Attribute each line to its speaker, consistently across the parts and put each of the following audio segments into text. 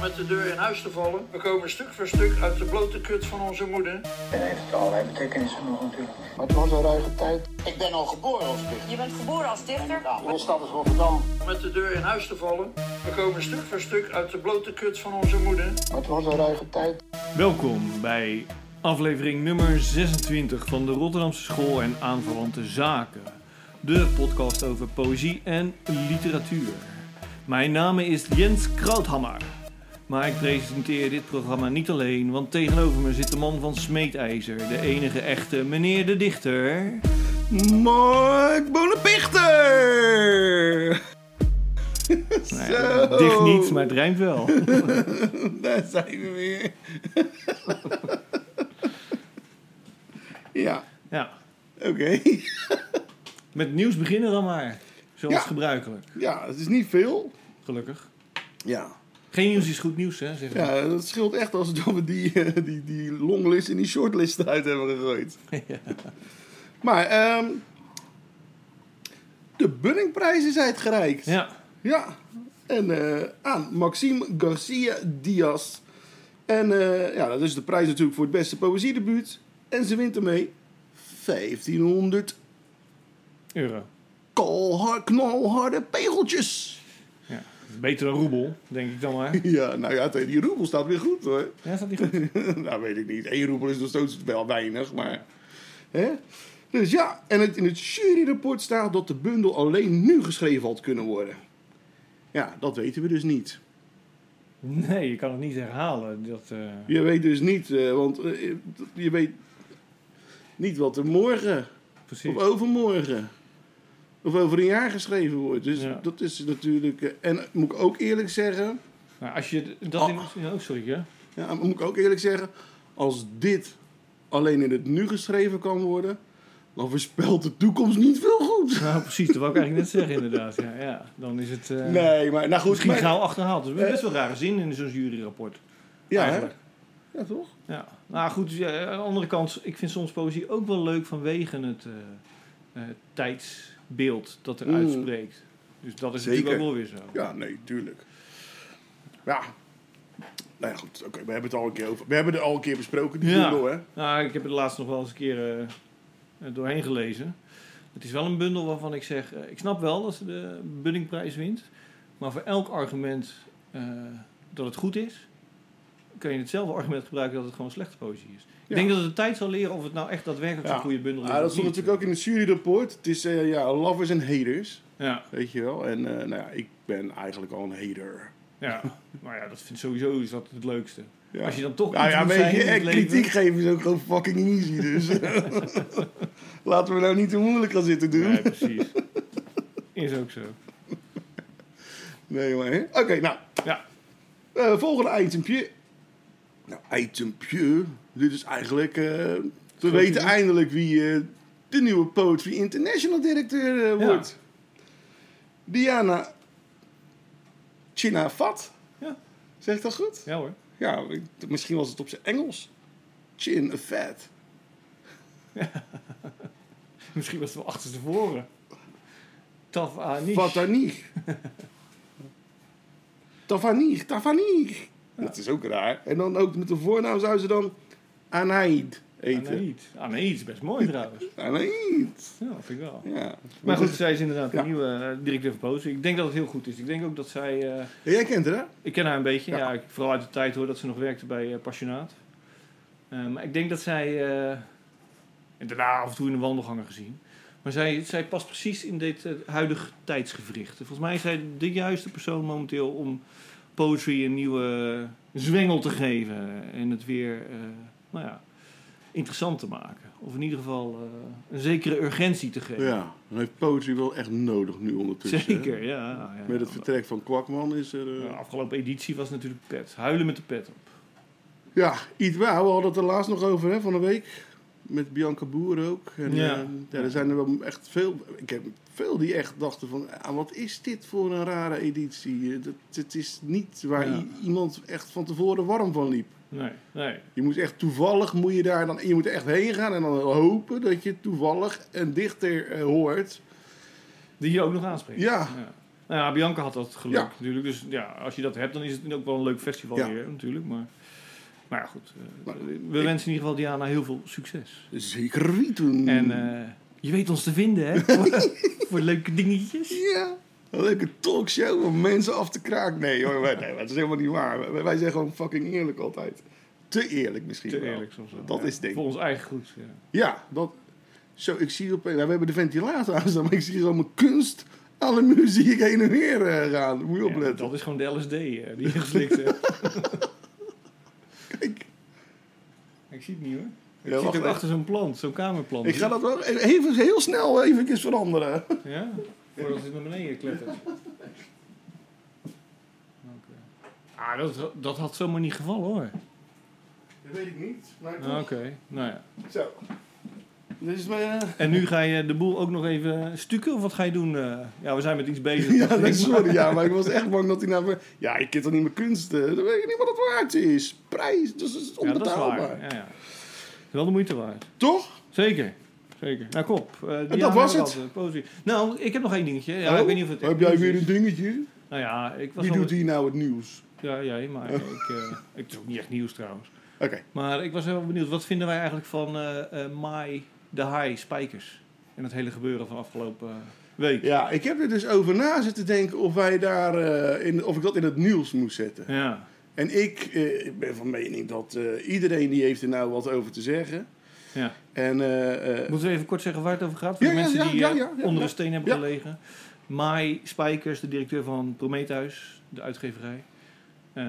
Speaker 1: met de deur in huis te vallen. We komen stuk voor stuk uit de blote kut van onze moeder.
Speaker 2: En heeft allerlei betekenissen nog natuurlijk.
Speaker 3: Maar het was een ruige tijd.
Speaker 2: Ik ben al geboren als dichter.
Speaker 4: Je bent geboren als dichter.
Speaker 2: Nou, mijn stad is Rotterdam.
Speaker 1: Met de deur in huis te vallen. We komen stuk voor stuk uit de blote kut van onze moeder.
Speaker 3: Maar het was een ruige tijd.
Speaker 5: Welkom bij aflevering nummer 26 van de Rotterdamse School en aanverwante zaken. De podcast over poëzie en literatuur. Mijn naam is Jens Krauthammer. Maar ik presenteer dit programma niet alleen, want tegenover me zit de man van Smeetijzer, de enige echte meneer de dichter.
Speaker 6: Mark Bonepichter!
Speaker 5: Nou ja,
Speaker 6: Zo.
Speaker 5: dicht niet, maar het rijmt wel.
Speaker 6: Daar zijn we weer. ja,
Speaker 5: Ja,
Speaker 6: oké.
Speaker 5: met nieuws beginnen dan maar. Zoals
Speaker 6: Ja.
Speaker 5: gebruikelijk,
Speaker 6: Ja, het is niet veel.
Speaker 5: gelukkig.
Speaker 6: Ja.
Speaker 5: Geen nieuws is goed nieuws, hè? Zeg
Speaker 6: ja, dat scheelt echt als dat we die, eh, die, die longlist en die shortlist eruit hebben gegooid. Maar, ehm de Bunningprijs is uitgereikt.
Speaker 5: ja.
Speaker 6: Ja, en eh, aan Maxime Garcia Diaz. En eh, ja, dat is de prijs natuurlijk voor het beste poëziedebuut. En ze wint ermee 1500
Speaker 5: euro.
Speaker 6: kalhar- knalharde pegeltjes.
Speaker 5: Ja, dat is beter dan roebel, denk ik dan maar.
Speaker 6: Ja, nou ja, tegen die roebel staat weer goed hoor.
Speaker 5: Ja, staat niet goed?
Speaker 6: nou, weet ik niet. Eén roebel is nog steeds wel weinig, maar... Hè? Dus ja, en het, in het juryrapport staat dat de bundel alleen nu geschreven had kunnen worden. Ja, dat weten we dus niet.
Speaker 5: Nee, je kan het niet herhalen. Dat, eh,
Speaker 6: Je weet dus niet, eh, want eh, je weet niet wat er morgen
Speaker 5: precies.
Speaker 6: of overmorgen of over een jaar geschreven wordt. Dus
Speaker 5: Ja.
Speaker 6: dat is natuurlijk. eh, en moet ik ook eerlijk zeggen,
Speaker 5: Maar als je d- dat in...
Speaker 6: Ah.
Speaker 5: Oh, sorry, hè?
Speaker 6: ja, moet ik ook eerlijk zeggen, als dit alleen in het nu geschreven kan worden, dan voorspelt de toekomst niet veel goed.
Speaker 5: Nou, precies. Dat wou ik eigenlijk net zeggen, inderdaad. Ja, ja. Dan is het eh,
Speaker 6: Nee, maar nou goed,
Speaker 5: misschien
Speaker 6: maar- Eh.
Speaker 5: gauw achterhaald. Dat is best wel rare zin in zo'n juryrapport.
Speaker 6: ja, hè?
Speaker 5: eigenlijk.
Speaker 6: ja, toch?
Speaker 5: Ja. Nou goed, ja, aan de andere kant, ik vind soms poëzie ook wel leuk vanwege het eh, eh, tijdsbeeld dat er
Speaker 6: Mm.
Speaker 5: uitspreekt. Dus dat is
Speaker 6: Zeker.
Speaker 5: natuurlijk ook wel weer zo.
Speaker 6: Ja, nee, tuurlijk. Ja. Nou ja, goed. Oké, we hebben het al een keer over. We hebben het al een keer besproken, die
Speaker 5: Ja.
Speaker 6: bundel, hè?
Speaker 5: Nou, ik heb het laatst nog wel eens een keer eh, eh, doorheen gelezen. Het is wel een bundel waarvan ik zeg... eh, ik snap wel dat ze de Buddingprijs wint. Maar voor elk argument eh, dat het goed is... kun je hetzelfde argument gebruiken dat het gewoon slechte poëzie is.
Speaker 6: Ja.
Speaker 5: Ik denk dat het de tijd zal leren of het nou echt daadwerkelijk
Speaker 6: Ja.
Speaker 5: een goede bundel is.
Speaker 6: Ah, dat
Speaker 5: of
Speaker 6: stond
Speaker 5: niet.
Speaker 6: natuurlijk ook in het juryrapport. Het is eh, ja, lovers en haters,
Speaker 5: Ja,
Speaker 6: weet je wel. En eh, nou ja, ik ben eigenlijk al een hater.
Speaker 5: ja. maar ja, dat vind sowieso is dat het leukste.
Speaker 6: Ja.
Speaker 5: Als je dan toch
Speaker 6: nou
Speaker 5: iets
Speaker 6: ja,
Speaker 5: moet
Speaker 6: weet
Speaker 5: zijn
Speaker 6: je,
Speaker 5: in het
Speaker 6: eh,
Speaker 5: leven-
Speaker 6: kritiek geven is ook gewoon fucking easy, dus. Laten we nou niet te moeilijk gaan zitten doen.
Speaker 5: Nee,
Speaker 6: Nee,
Speaker 5: precies. is ook zo.
Speaker 6: maar hè. Oké, nou.
Speaker 5: Ja.
Speaker 6: eh, volgende itempje. Nou, itempje. Dit is eigenlijk... eh, we weten eindelijk wie eh, de nieuwe Poetry International directeur eh,
Speaker 5: Ja.
Speaker 6: wordt. Diana Chinafat.
Speaker 5: Ja.
Speaker 6: Zeg ik dat goed?
Speaker 5: Ja hoor.
Speaker 6: Ja, ik- misschien was het op zijn Engels. Chinafat.
Speaker 5: Misschien was het wel achterstevoren. Taf Anish.
Speaker 6: Fatanig. Tavanig, Tavanig. Dat is ook raar. En dan ook met de voornaam zou ze dan Anaid eten.
Speaker 5: Anaïd. Anaïd is best mooi trouwens.
Speaker 6: Anaid.
Speaker 5: Ja, dat vind ik wel.
Speaker 6: Ja.
Speaker 5: Maar goed, zij is inderdaad de
Speaker 6: Dus- Ja.
Speaker 5: nieuwe eh, directeur van Poos. Ik denk dat het heel goed is. Ik denk ook dat zij... eh,
Speaker 6: Ja, jij kent haar, hè?
Speaker 5: ik ken haar een beetje. Ja.
Speaker 6: Ja.
Speaker 5: ik, vooral uit de tijd hoor dat ze nog werkte bij eh, Passionaat. Eh, maar ik denk dat zij... eh, en daarna af en toe in de wandelgangen gezien. Maar zij, zij past precies in dit eh, huidige tijdsgevricht. Volgens mij is zij de juiste persoon momenteel om poetry een nieuwe zwengel te geven. En het weer, eh, nou ja, interessant te maken. Of in ieder geval eh, een zekere urgentie te geven.
Speaker 6: Ja, dan heeft poetry wel echt nodig nu ondertussen. hè?
Speaker 5: Zeker, ja. ja, ja.
Speaker 6: Met het vertrek van Kwakman is er... eh,
Speaker 5: De afgelopen editie was natuurlijk pet. Huilen met de pet op.
Speaker 6: Ja, iets waar. We hadden het er laatst nog over hè, van de week. Met Bianca Boer ook. En,
Speaker 5: Ja.
Speaker 6: ja. ja, er zijn er wel echt veel. Ik heb veel die echt dachten van, ah, wat is dit voor een rare editie? Eh, Dat, het is niet waar
Speaker 5: Ja.
Speaker 6: i- iemand echt van tevoren warm van liep.
Speaker 5: Nee, nee.
Speaker 6: Je moet echt toevallig, moet je daar dan, je moet er echt heen gaan en dan hopen dat je toevallig een dichter eh, hoort.
Speaker 5: Die je ook nog aanspreekt.
Speaker 6: Ja.
Speaker 5: Nou ja, Bianca had dat geluk
Speaker 6: Ja.
Speaker 5: natuurlijk. Dus ja, als je dat hebt, dan is het ook wel een leuk festival
Speaker 6: Ja.
Speaker 5: weer natuurlijk. Maar, maar ja, goed. eh,
Speaker 6: Nou,
Speaker 5: we
Speaker 6: ik-
Speaker 5: wensen in ieder geval Diana heel veel succes.
Speaker 6: Zeker weten.
Speaker 5: En eh, je weet ons te vinden, hè? voor, voor leuke dingetjes.
Speaker 6: Ja, een leuke talkshow om mensen af te kraken. Nee, hoor, wij, nee, dat is helemaal niet waar. Wij, wij zijn gewoon fucking eerlijk altijd. Te eerlijk misschien
Speaker 5: Te
Speaker 6: wel.
Speaker 5: eerlijk soms wel.
Speaker 6: Dat
Speaker 5: Ja,
Speaker 6: is het ding.
Speaker 5: Voor ons eigen goed. Ja.
Speaker 6: Ja, dat... Zo, ik zie op... Nou, we hebben de ventilator aanstaan, maar ik zie gewoon mijn kunst... Alle muur zie ik heen en weer eh, gaan. Moet je
Speaker 5: Ja,
Speaker 6: opletten.
Speaker 5: dat is gewoon de LSD eh, die je geslikt hebt.
Speaker 6: Kijk,
Speaker 5: Ik zie het niet hoor.
Speaker 6: Ja,
Speaker 5: Ik zit
Speaker 6: wacht
Speaker 5: ook
Speaker 6: even.
Speaker 5: achter zo'n plant, zo'n kamerplant.
Speaker 6: ik ga dat wel even, heel snel even veranderen.
Speaker 5: Ja, voordat het naar beneden klettert. Ah, dat, dat had zomaar niet gevallen hoor.
Speaker 6: Dat weet ik niet. Maar
Speaker 5: Oké, nou ja.
Speaker 6: Zo. Dit is mijn... eh,
Speaker 5: En nu ga je de boel ook nog even stukken of wat ga je doen? eh? Ja, we zijn met iets bezig.
Speaker 6: Ja, nee, sorry, ja, maar ik was echt bang dat hij naar me... Ja, ik ken toch niet mijn kunsten? Dan weet ik niet wat het waard is. Prijs, dus dat is
Speaker 5: Ja, dat is
Speaker 6: onbetaalbaar.
Speaker 5: waar. Ja, ja. Is Wel de moeite waard.
Speaker 6: Toch?
Speaker 5: Zeker. Zeker. Nou, kop. Eh, Diana
Speaker 6: dat was
Speaker 5: had,
Speaker 6: het. Oh,
Speaker 5: eh, positie. Nou, ik heb nog één dingetje. Ja, ik weet niet of het
Speaker 6: Heb jij weer een dingetje?
Speaker 5: Nou ja, ik was
Speaker 6: Wie
Speaker 5: wel-
Speaker 6: doet hier nou het nieuws?
Speaker 5: Ja, jij, maar ik... eh ik het is ook niet echt nieuws trouwens.
Speaker 6: Oké.
Speaker 5: Maar ik was heel benieuwd, wat vinden wij eigenlijk van eh eh Mai de Haai Spijkers? En het hele gebeuren van afgelopen eh, week. Ja.
Speaker 6: Ja, ik heb er dus over na zitten denken of, wij daar, eh, in, of ik dat in het nieuws moest zetten.
Speaker 5: Ja.
Speaker 6: En ik, eh, ik ben van mening dat eh, iedereen die heeft er nou wat over te zeggen. En eh, eh,
Speaker 5: Moeten we even kort zeggen waar het over gaat? Voor
Speaker 6: Ja,
Speaker 5: de
Speaker 6: ja,
Speaker 5: mensen
Speaker 6: ja,
Speaker 5: die
Speaker 6: ja,
Speaker 5: eh,
Speaker 6: ja, ja,
Speaker 5: onder
Speaker 6: ja.
Speaker 5: een steen hebben
Speaker 6: Ja.
Speaker 5: gelegen. Mai Spijkers, de directeur van Prometheus, de uitgeverij, eh,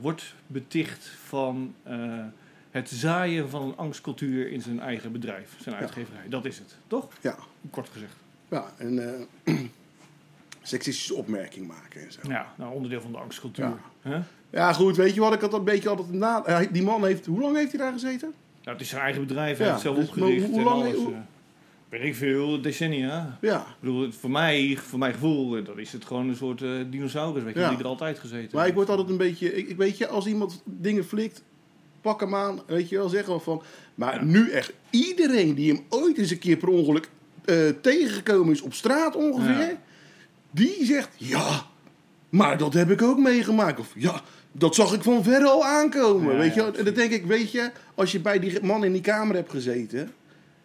Speaker 5: wordt beticht van eh, het zaaien van een angstcultuur in zijn eigen bedrijf, zijn uitgeverij. Dat is het, toch?
Speaker 6: ja,
Speaker 5: Kort gezegd.
Speaker 6: ja, en eh, seksistische opmerking maken en zo.
Speaker 5: Ja, nou, onderdeel van de angstcultuur.
Speaker 6: Ja.
Speaker 5: Hè?
Speaker 6: Ja, goed, weet je wat? Ik had dat een beetje altijd na. eh, Die man heeft. Hoe lang heeft hij daar gezeten?
Speaker 5: Ja, Nou, het is zijn eigen bedrijf, hij
Speaker 6: Ja,
Speaker 5: heeft het zelf
Speaker 6: dus maar
Speaker 5: opgericht
Speaker 6: hoe- hoe
Speaker 5: en
Speaker 6: lang-
Speaker 5: alles.
Speaker 6: hoe-
Speaker 5: eh. weet ik veel, decennia.
Speaker 6: Ja.
Speaker 5: Ik bedoel, het- voor, mij, voor mijn gevoel, eh, dan is het gewoon een soort eh, dinosaurus, weet je,
Speaker 6: Ja.
Speaker 5: die er altijd gezeten
Speaker 6: Maar ik
Speaker 5: heeft.
Speaker 6: word altijd een beetje. Ik, ik weet je, als iemand dingen flikt, pak hem aan. Weet je wel, zeg wel van. Maar
Speaker 5: Ja.
Speaker 6: nu echt iedereen die hem ooit eens een keer per ongeluk eh, tegengekomen is op straat ongeveer,
Speaker 5: Ja.
Speaker 6: die zegt ja, maar dat heb ik ook meegemaakt. Of ja. Dat zag ik van verre al aankomen.
Speaker 5: Ja,
Speaker 6: weet je
Speaker 5: ja,
Speaker 6: wel? En dan denk ik, weet je, als je bij die man in die kamer hebt gezeten.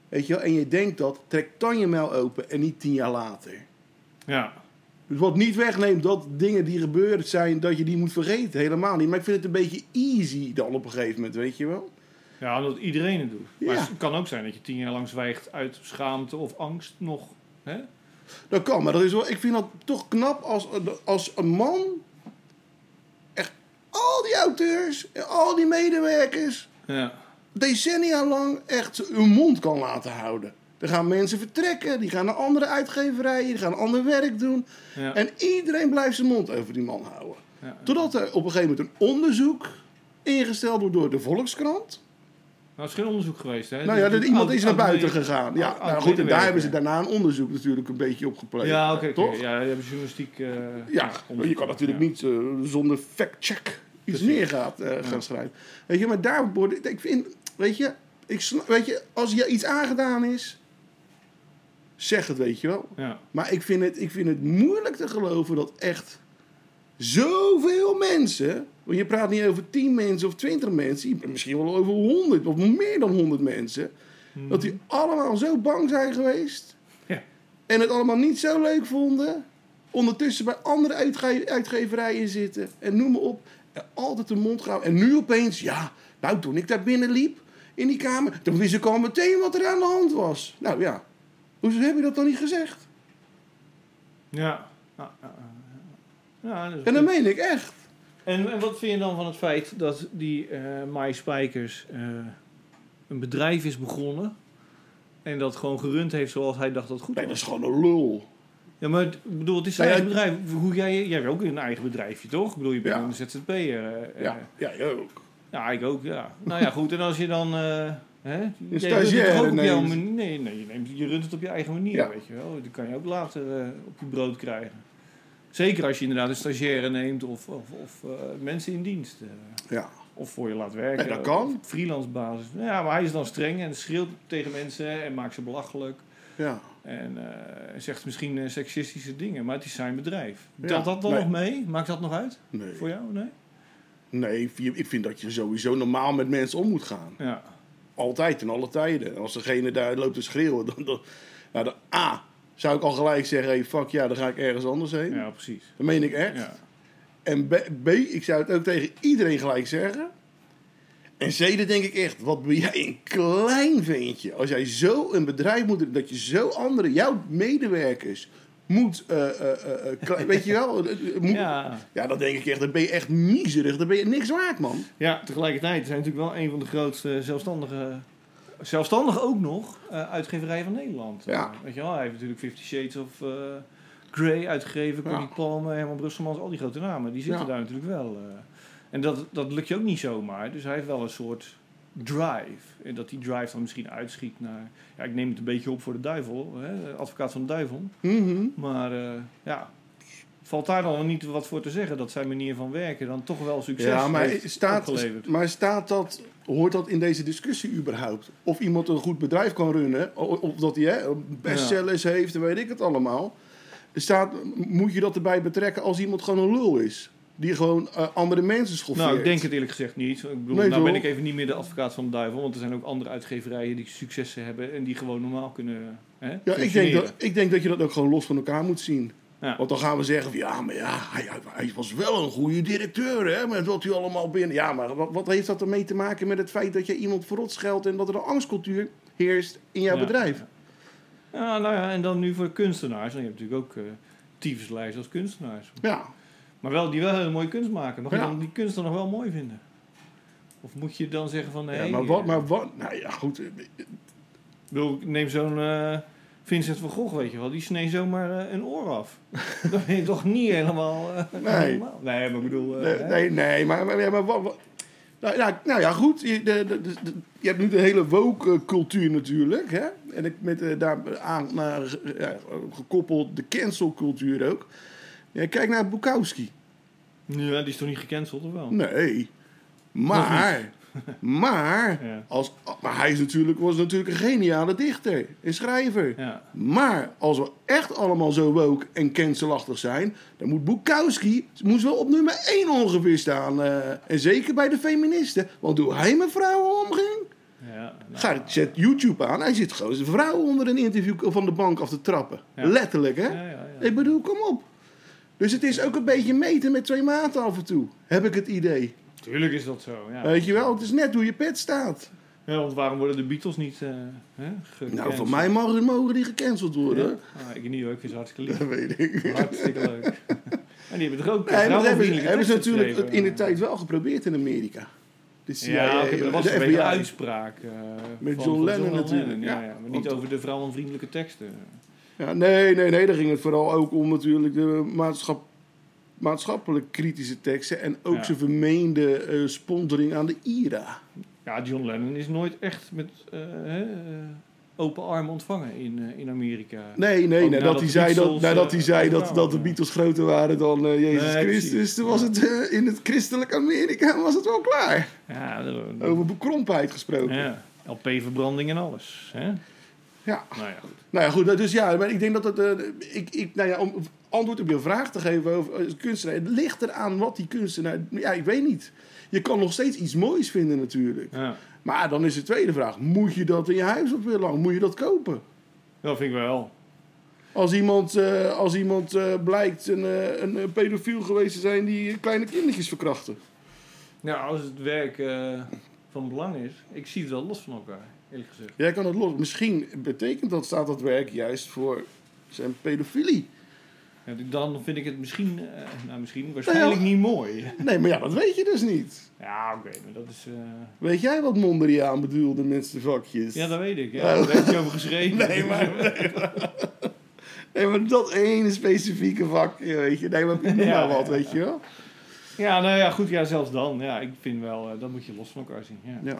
Speaker 6: Weet je wel, en je denkt dat, trek dan je mijl open en niet tien jaar later.
Speaker 5: Ja,
Speaker 6: Dus wat niet wegneemt dat dingen die gebeurd zijn, dat je die moet vergeten. Helemaal niet. Maar ik vind het een beetje easy dan op een gegeven moment, weet je wel.
Speaker 5: ja, omdat iedereen het doet. Maar
Speaker 6: Ja.
Speaker 5: het kan ook zijn dat je tien jaar lang zwijgt uit schaamte of angst nog. Hè?
Speaker 6: Dat kan, maar dat is wel, ik vind dat toch knap als, als een man. Echt al die auteurs, en al die medewerkers,
Speaker 5: Ja.
Speaker 6: decennia lang echt hun mond kan laten houden. Er gaan mensen vertrekken, die gaan naar andere uitgeverijen, die gaan ander werk doen.
Speaker 5: Ja.
Speaker 6: En iedereen blijft zijn mond over die man houden.
Speaker 5: Ja.
Speaker 6: Totdat er op een gegeven moment een onderzoek ingesteld wordt door de Volkskrant.
Speaker 5: Nou, het is geen onderzoek geweest, hè?
Speaker 6: Nou ja, dat iemand is naar buiten
Speaker 5: gegaan.
Speaker 6: gegaan. Ja,
Speaker 5: oud-
Speaker 6: nou goed, en
Speaker 5: medewerker.
Speaker 6: daar hebben ze daarna een onderzoek natuurlijk een beetje op gepleegd.
Speaker 5: Ja, oké, oké.
Speaker 6: toch?
Speaker 5: Ja, die hebben journalistiek... eh,
Speaker 6: Ja, je
Speaker 5: onderzoek.
Speaker 6: kan natuurlijk
Speaker 5: Ja.
Speaker 6: niet eh, zonder fact-check iets
Speaker 5: Precies.
Speaker 6: meer gaat, eh, gaan schrijven. Weet je, maar daar word ik, ik vind, weet je, ik, sna- weet je, als je iets aangedaan is, zeg het, weet je wel.
Speaker 5: Ja.
Speaker 6: Maar ik vind, het, ik vind het moeilijk te geloven dat echt zoveel mensen. Want je praat niet over 10 mensen of 20 mensen, je praat misschien wel over 100 of meer dan 100 mensen. Dat die allemaal zo bang zijn geweest.
Speaker 5: Ja.
Speaker 6: En het allemaal niet zo leuk vonden. Ondertussen bij andere uitge- uitgeverijen zitten. En noem maar op. En altijd de mond gaan. En nu opeens, ja, nou toen ik daar binnen liep in die kamer. Toen wist ik al meteen wat er aan de hand was. Nou ja, hoezo heb je dat dan niet gezegd?
Speaker 5: Ja. Ah, ah, ah. Ja, dat is
Speaker 6: En dat meen ik echt.
Speaker 5: En, en wat vind je dan van het feit dat die eh Mai Spijkers eh, een bedrijf is begonnen en dat gewoon gerund heeft zoals hij dacht dat het goed
Speaker 6: Nee, dat
Speaker 5: was?
Speaker 6: is gewoon een lul.
Speaker 5: Ja, maar het, ik bedoel, het is zijn
Speaker 6: Nou ja,
Speaker 5: eigen bedrijf. Hoe jij, jij hebt ook een eigen bedrijfje, toch? Ik bedoel, je bent
Speaker 6: Ja.
Speaker 5: een ZZP'er. eh, eh.
Speaker 6: Ja, ja, jij ook.
Speaker 5: Ja, ik ook, ja. Nou ja, goed. En als je dan... eh hè, jij runt het
Speaker 6: stagiaire
Speaker 5: toch ook op jouw
Speaker 6: neemt.
Speaker 5: manier. Nee, nee je, neemt, je runt het op je eigen manier,
Speaker 6: Ja.
Speaker 5: weet je wel. Dat kan je ook later eh, op je brood krijgen. Zeker als je inderdaad een stagiaire neemt of, of, of eh, mensen in dienst. eh,
Speaker 6: Ja.
Speaker 5: of voor je laat werken.
Speaker 6: Nee, dat kan.
Speaker 5: Op freelance basis. Nou Ja, maar hij is dan streng en schreeuwt tegen mensen en maakt ze belachelijk.
Speaker 6: Ja.
Speaker 5: Eh, En eh, zegt misschien eh, seksistische dingen, maar het is zijn bedrijf.
Speaker 6: Ja,
Speaker 5: Telt dat dan
Speaker 6: nee.
Speaker 5: nog mee? Maakt dat nog uit
Speaker 6: Nee,
Speaker 5: voor jou? Nee?
Speaker 6: nee ik vind- ik vind dat je sowieso normaal met mensen om moet gaan.
Speaker 5: Ja.
Speaker 6: Altijd, in alle tijden. Als degene daar loopt te schreeuwen, dan... dan, nou, dan A, zou ik al gelijk zeggen, hey, fuck ja, dan ga ik ergens anders heen.
Speaker 5: ja, precies.
Speaker 6: Dat meen ik echt.
Speaker 5: Ja.
Speaker 6: En B, B, ik zou het ook tegen iedereen gelijk zeggen. En C, dat denk ik echt, wat ben jij een klein ventje. Als jij zo een bedrijf moet, dat je zo andere, jouw medewerkers moet, eh, eh, eh, eh, klein- weet je wel, eh, eh, moet, ja.
Speaker 5: Ja.
Speaker 6: dan denk ik echt, dan ben je echt miserig, dan ben je niks waard, man.
Speaker 5: ja, tegelijkertijd zijn natuurlijk wel een van de grootste zelfstandige, zelfstandig ook nog, eh uitgeverijen van Nederland.
Speaker 6: Ja.
Speaker 5: Eh, weet je wel, hij heeft natuurlijk Fifty Shades of eh, Grey uitgegeven, Connie
Speaker 6: Ja.
Speaker 5: Palmer, Herman Brusselmans, al die grote namen, die zitten
Speaker 6: Ja.
Speaker 5: daar natuurlijk wel. eh. en dat, dat lukt je ook niet zomaar, dus hij heeft wel een soort drive. En dat die drive dan misschien uitschiet naar, ja, ik neem het een beetje op voor de duivel, hè, advocaat van de duivel.
Speaker 6: Mhm.
Speaker 5: Maar eh, ja, valt daar dan niet wat voor te zeggen dat zijn manier van werken dan toch wel succes
Speaker 6: Ja, maar
Speaker 5: heeft
Speaker 6: staat,
Speaker 5: opgeleverd?
Speaker 6: maar staat dat, hoort dat in deze discussie überhaupt? Of iemand een goed bedrijf kan runnen, o- of dat hij hè, bestsellers heeft en weet ik het allemaal. Staat, moet je dat erbij betrekken als iemand gewoon een lul is? Die gewoon eh, andere mensen schoffeert?
Speaker 5: Nou, ik denk het eerlijk gezegd niet. Ik bedoel,
Speaker 6: Nee,
Speaker 5: nou ben
Speaker 6: toch?
Speaker 5: ik even niet meer de advocaat van de duivel, want er zijn ook andere uitgeverijen die successen hebben en die gewoon normaal kunnen. Hè,
Speaker 6: Ja, ik denk, dat, ik denk dat je dat ook gewoon los van elkaar moet zien.
Speaker 5: Ja.
Speaker 6: Want dan gaan we zeggen van ja, maar ja, hij, hij was wel een goede directeur, hè, met wat u allemaal binnen. Ja, maar wat, wat heeft dat ermee te maken met het feit dat je iemand verrot scheldt en dat er een angstcultuur heerst in jouw
Speaker 5: Ja.
Speaker 6: bedrijf?
Speaker 5: Ja, nou ja, en dan nu voor kunstenaars. Dan heb je natuurlijk ook eh tyfuslijst als kunstenaars.
Speaker 6: Ja,
Speaker 5: Maar wel, die wel hele mooie kunst maken. Mag je
Speaker 6: Ja.
Speaker 5: dan die kunst dan nog wel mooi vinden? Of moet je dan zeggen van nee.
Speaker 6: ja maar wat, maar wat, nou ja, goed. eh,
Speaker 5: Ik bedoel, ik neem zo'n eh, Vincent van Gogh, weet je wel. Die snee zomaar eh, een oor af. dat ben je toch niet helemaal... eh,
Speaker 6: Nee.
Speaker 5: normaal. Nee, maar ik bedoel... eh,
Speaker 6: Nee,
Speaker 5: hè?
Speaker 6: nee, nee, maar, maar, ja, maar wat, wat- nou, ja, nou ja, goed. Je, de- de- de- de- je hebt nu de hele woke-cultuur natuurlijk. Hè? En ik- met eh, daar aan naar, eh, ja, gekoppeld de cancelcultuur ook. Ja, kijk naar Bukowski.
Speaker 5: Ja, die is toch niet gecanceld, of wel?
Speaker 6: Nee. Maar, maar,
Speaker 5: Ja.
Speaker 6: als, maar hij is natuurlijk, was natuurlijk een geniale dichter en schrijver.
Speaker 5: Ja.
Speaker 6: Maar als we echt allemaal zo woke en cancelachtig zijn, dan moet Bukowski moest wel op nummer 1 ongeveer staan. eh, en zeker bij de feministen. Want hoe hij met vrouwen omging,
Speaker 5: ja nou,
Speaker 6: ga, zet YouTube aan. Hij zit gewoon zijn vrouwen onder een interview van de bank af te trappen.
Speaker 5: Ja.
Speaker 6: Letterlijk, hè?
Speaker 5: ja, ja, ja.
Speaker 6: Ik bedoel, kom op. Dus het is ook een beetje meten met twee maten af en toe, heb ik het idee.
Speaker 5: Tuurlijk is dat zo, ja.
Speaker 6: Weet je wel, het is net hoe je pet staat.
Speaker 5: Ja, want waarom worden de Beatles niet eh hè, gecanceld?
Speaker 6: Nou, voor mij mogen, mogen die gecanceld worden.
Speaker 5: Ja? Ah, ik niet hoor, ik vind ze hartstikke lief.
Speaker 6: Dat weet ik.
Speaker 5: hartstikke leuk. en die hebben toch ook...
Speaker 6: Nee, maar dat hebben, ze-
Speaker 5: vrouwenvriendelijke
Speaker 6: hebben ze
Speaker 5: teksten
Speaker 6: natuurlijk
Speaker 5: geschreven.
Speaker 6: in de tijd wel geprobeerd in Amerika. De CIA,
Speaker 5: Ja, oké, maar dat was
Speaker 6: de
Speaker 5: een beetje een
Speaker 6: FBI.
Speaker 5: uitspraak. eh, van- van
Speaker 6: John Lennon natuurlijk,
Speaker 5: Ja,
Speaker 6: ja.
Speaker 5: ja, maar niet
Speaker 6: Want-
Speaker 5: over de vrouwenvriendelijke teksten.
Speaker 6: Ja, nee, nee, nee. Daar ging het vooral ook om natuurlijk de maatschap, maatschappelijk kritische teksten. En ook
Speaker 5: Ja.
Speaker 6: zijn vermeende eh, sponsoring aan de IRA.
Speaker 5: Ja, John Lennon is nooit echt met eh, hè, eh, open armen ontvangen in, eh, in Amerika.
Speaker 6: Nee, nee,
Speaker 5: Ook
Speaker 6: nee.
Speaker 5: Oh, nadat
Speaker 6: Dat hij
Speaker 5: de
Speaker 6: zei, dat,
Speaker 5: Beatles,
Speaker 6: nadat, hij
Speaker 5: eh,
Speaker 6: zei
Speaker 5: ja,
Speaker 6: dat, dat de
Speaker 5: ja.
Speaker 6: Beatles groter waren dan eh, Jezus
Speaker 5: Nee, precies.
Speaker 6: Christus. Toen
Speaker 5: Ja.
Speaker 6: was het eh, in het christelijk Amerika was het wel klaar.
Speaker 5: Ja, dat-
Speaker 6: Over bekrompheid gesproken.
Speaker 5: ja, LP-verbranding en alles. Hè?
Speaker 6: Ja.
Speaker 5: Nou ja, goed.
Speaker 6: Nou ja, goed. Dus ja, maar ik denk dat het... eh, ik, ik, nou ja, om antwoord op je vraag te geven over eh, kunstenaar. Het ligt eraan wat die kunstenaar... Ja, ik weet niet. Je kan nog steeds iets moois vinden natuurlijk.
Speaker 5: Ja.
Speaker 6: Maar dan is de tweede vraag. Moet je dat in je huis op willen hangen? Moet je dat kopen?
Speaker 5: Dat vind ik wel.
Speaker 6: Als iemand, eh, als iemand eh, blijkt een, eh, een eh, pedofiel geweest te zijn die eh, kleine kindertjes verkrachten.
Speaker 5: Nou, als het werk eh, van belang is, ik zie het wel los van elkaar, eerlijk gezegd.
Speaker 6: Jij kan het los. Misschien betekent dat, staat dat werk juist voor zijn pedofilie.
Speaker 5: Ja, dan vind ik het misschien, eh, nou misschien, waarschijnlijk
Speaker 6: Nou
Speaker 5: niet mooi.
Speaker 6: Nee, maar ja, dat weet je dus niet.
Speaker 5: Ja, oké, maar dat is... eh,
Speaker 6: Weet jij wat Mondriaan bedoelde met zijn vakjes?
Speaker 5: ja, dat weet ik. Ja. Daar heb je over geschreven.
Speaker 6: Nee, maar... nee, maar- Nee, maar dat ene specifieke vak, ja, weet je. Nee, maar noem maar
Speaker 5: Ja,
Speaker 6: wat,
Speaker 5: ja,
Speaker 6: weet je wel.
Speaker 5: Ja, nou ja, goed, ja, zelfs dan. Ja, ik vind wel, eh, dat moet je los van elkaar zien. Ja.
Speaker 6: Ja.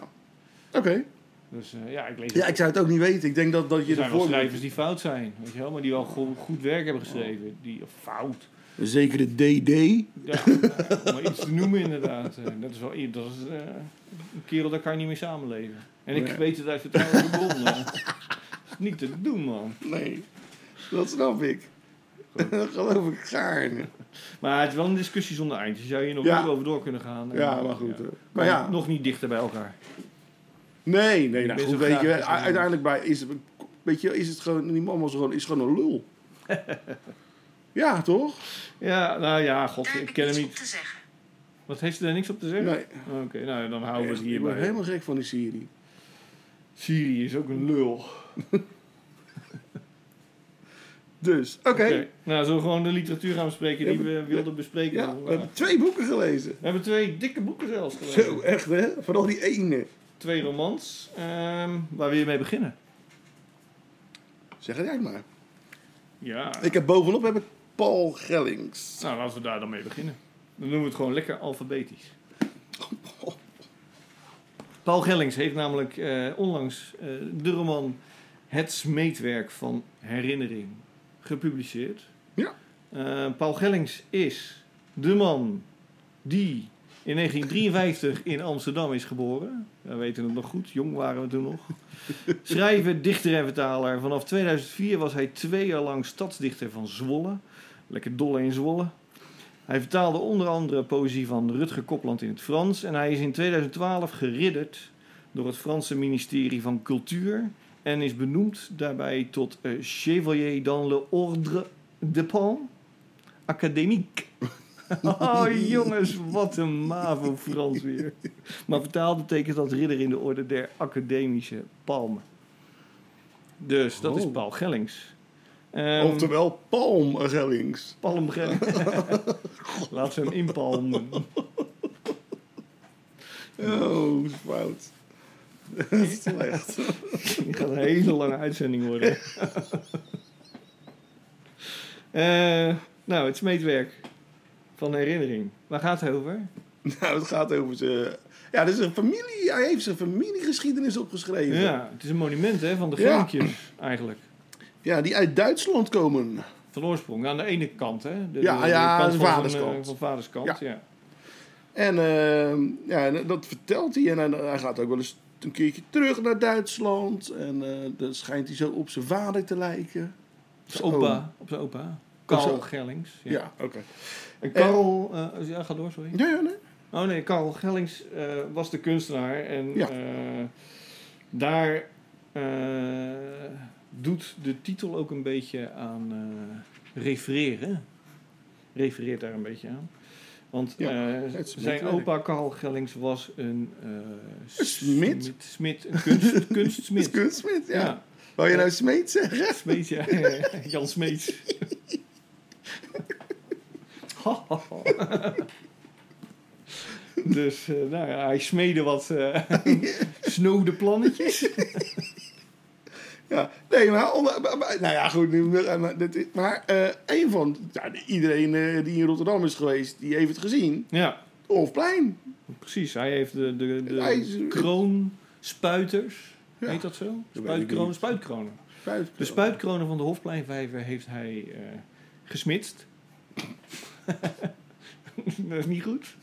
Speaker 6: Oké.
Speaker 5: Dus eh, ja, ik lees
Speaker 6: Ja, ik zou het ook niet weten. Ik denk dat, dat je
Speaker 5: Er zijn wel
Speaker 6: ervoor...
Speaker 5: schrijvers die fout zijn, weet je wel, maar die wel go- goed werk hebben geschreven. Die, of fout.
Speaker 6: Zeker de DD.
Speaker 5: Ja, nou, om maar iets te noemen inderdaad. Eh, Dat is wel i- dat is, eh, een kerel, daar kan je niet mee samenleven. En ik
Speaker 6: Nee.
Speaker 5: weet het uit vertrouwde bron. eh. Dat is niet te doen, man.
Speaker 6: Nee. Dat snap ik. Dat geloof ik gaarne.
Speaker 5: Maar het is wel een discussie zonder eind. Je zou hier nog
Speaker 6: Ja.
Speaker 5: uren over door kunnen gaan. En,
Speaker 6: Ja, maar goed. hè. Maar
Speaker 5: Maar
Speaker 6: ja,
Speaker 5: Nog niet dichter bij elkaar.
Speaker 6: nee, nee, nou,
Speaker 5: ben
Speaker 6: goed,
Speaker 5: zo
Speaker 6: weet
Speaker 5: graag
Speaker 6: je,
Speaker 5: als je-
Speaker 6: u- uiteindelijk bij, is, het- weet je, is het gewoon, die man was gewoon, is gewoon een lul. ja, toch?
Speaker 5: Ja, nou ja, god,
Speaker 4: Daar heb
Speaker 5: ik
Speaker 4: ik
Speaker 5: ken hem
Speaker 4: niets op
Speaker 5: niet.
Speaker 4: te zeggen.
Speaker 5: Wat heeft ze daar niks op te zeggen?
Speaker 6: Nee.
Speaker 5: Oké, nou dan houden we het
Speaker 6: Ik word
Speaker 5: hierbij.
Speaker 6: helemaal gek van die serie.
Speaker 5: Siri is ook een lul. Oké,
Speaker 6: Dus, oké.
Speaker 5: nou zullen we gewoon de literatuur gaan bespreken die
Speaker 6: Ja,
Speaker 5: we wilden bespreken?
Speaker 6: Ja,
Speaker 5: vandaag?
Speaker 6: we hebben twee boeken gelezen.
Speaker 5: We hebben twee dikke boeken zelfs gelezen.
Speaker 6: Zo, echt hè? Vooral die ene.
Speaker 5: Twee romans. Ehm, waar wil je mee beginnen?
Speaker 6: Zeg het jij maar.
Speaker 5: Ja,
Speaker 6: Ik heb bovenop heb ik Paul Gellings.
Speaker 5: nou laten we daar dan mee beginnen. Dan doen we het gewoon lekker alfabetisch. Paul Gellings heeft namelijk eh, onlangs eh, de roman Het smeedwerk van herinnering gepubliceerd.
Speaker 6: Ja.
Speaker 5: Eh, Paul Gellings is de man die in 1953 in Amsterdam is geboren. We weten het nog goed, jong waren we toen nog. Schrijver, dichter en vertaler. Vanaf 2004 was hij twee jaar lang stadsdichter van Zwolle. Lekker dolle in Zwolle. Hij vertaalde onder andere poëzie van Rutger Kopland in het Frans. En hij is in 2012 geridderd door het Franse ministerie van Cultuur. En is benoemd daarbij tot eh, Chevalier dans le Ordre de Palme Académique. Oh jongens, wat een mavo Frans weer. Maar vertaald betekent dat ridder in de orde der academische palmen. Dus dat is
Speaker 6: Oh.
Speaker 5: Paul Gellings. Ehm,
Speaker 6: Oftewel Palm Gellings.
Speaker 5: Palmgren. Laat ze hem inpalmen.
Speaker 6: Oh, fout. Dat is slecht.
Speaker 5: Die gaat een hele lange uitzending worden. Eh, nou, het smeetwerk van herinnering. Waar gaat het over?
Speaker 6: nou, het gaat over zijn... Ja, dat is een familie... Hij heeft zijn familiegeschiedenis opgeschreven.
Speaker 5: Ja, het is een monument hè, van de
Speaker 6: Ja.
Speaker 5: Gellinkjes eigenlijk.
Speaker 6: Ja, die uit Duitsland komen.
Speaker 5: Van oorsprong, aan de ene kant hè? De,
Speaker 6: Ja, ja, de
Speaker 5: van
Speaker 6: vaderskant.
Speaker 5: zijn, eh, Van vaders kant, ja.
Speaker 6: Ja. En eh, ja, en dat vertelt hij. En hij, hij gaat ook wel eens een keertje terug naar Duitsland. En eh, dan schijnt hij zo op zijn vader te lijken.
Speaker 5: Op zijn
Speaker 6: Oom.
Speaker 5: opa. Op zijn opa. Karl
Speaker 6: zo.
Speaker 5: Gellings.
Speaker 6: Ja,
Speaker 5: Ja.
Speaker 6: oké.
Speaker 5: En Karl... eh, ja, ga door, sorry.
Speaker 6: Ja, ja, nee.
Speaker 5: Oh nee, Karel Gellings eh, was de kunstenaar. En
Speaker 6: Ja.
Speaker 5: eh, daar eh, doet de titel ook een beetje aan eh, refereren. Refereert daar een beetje aan. Want
Speaker 6: Ja,
Speaker 5: eh,
Speaker 6: het
Speaker 5: zijn
Speaker 6: smitwerk.
Speaker 5: opa Karel Gellings was een... eh,
Speaker 6: smid?
Speaker 5: smid- smid, een kunst,
Speaker 6: Het is
Speaker 5: kunstsmid.
Speaker 6: kunstsmid, ja.
Speaker 5: Ja,
Speaker 6: Wou je nou smeet zeggen?
Speaker 5: Smeet, ja. Jan Smeets. Ha, ha, ha. dus, eh, nou ja, hij smeedde wat eh snode plannetjes.
Speaker 6: Ja, nee, maar, onder- maar- maar- nou ja, goed. nu- Maar, dat is- maar eh, een van, ja, iedereen eh, die in Rotterdam is geweest, die heeft het gezien.
Speaker 5: Ja,
Speaker 6: Hofplein.
Speaker 5: precies. Hij heeft de, de,
Speaker 6: Hij
Speaker 5: de
Speaker 6: is-
Speaker 5: kroonspuiters.
Speaker 6: Ja.
Speaker 5: Heet dat zo?
Speaker 6: ik
Speaker 5: Spuitkronen,
Speaker 6: niet.
Speaker 5: spuitkronen.
Speaker 6: Spuit.
Speaker 5: De spuitkronen van de Hofpleinvijver heeft hij eh gesmitst. dat is niet goed.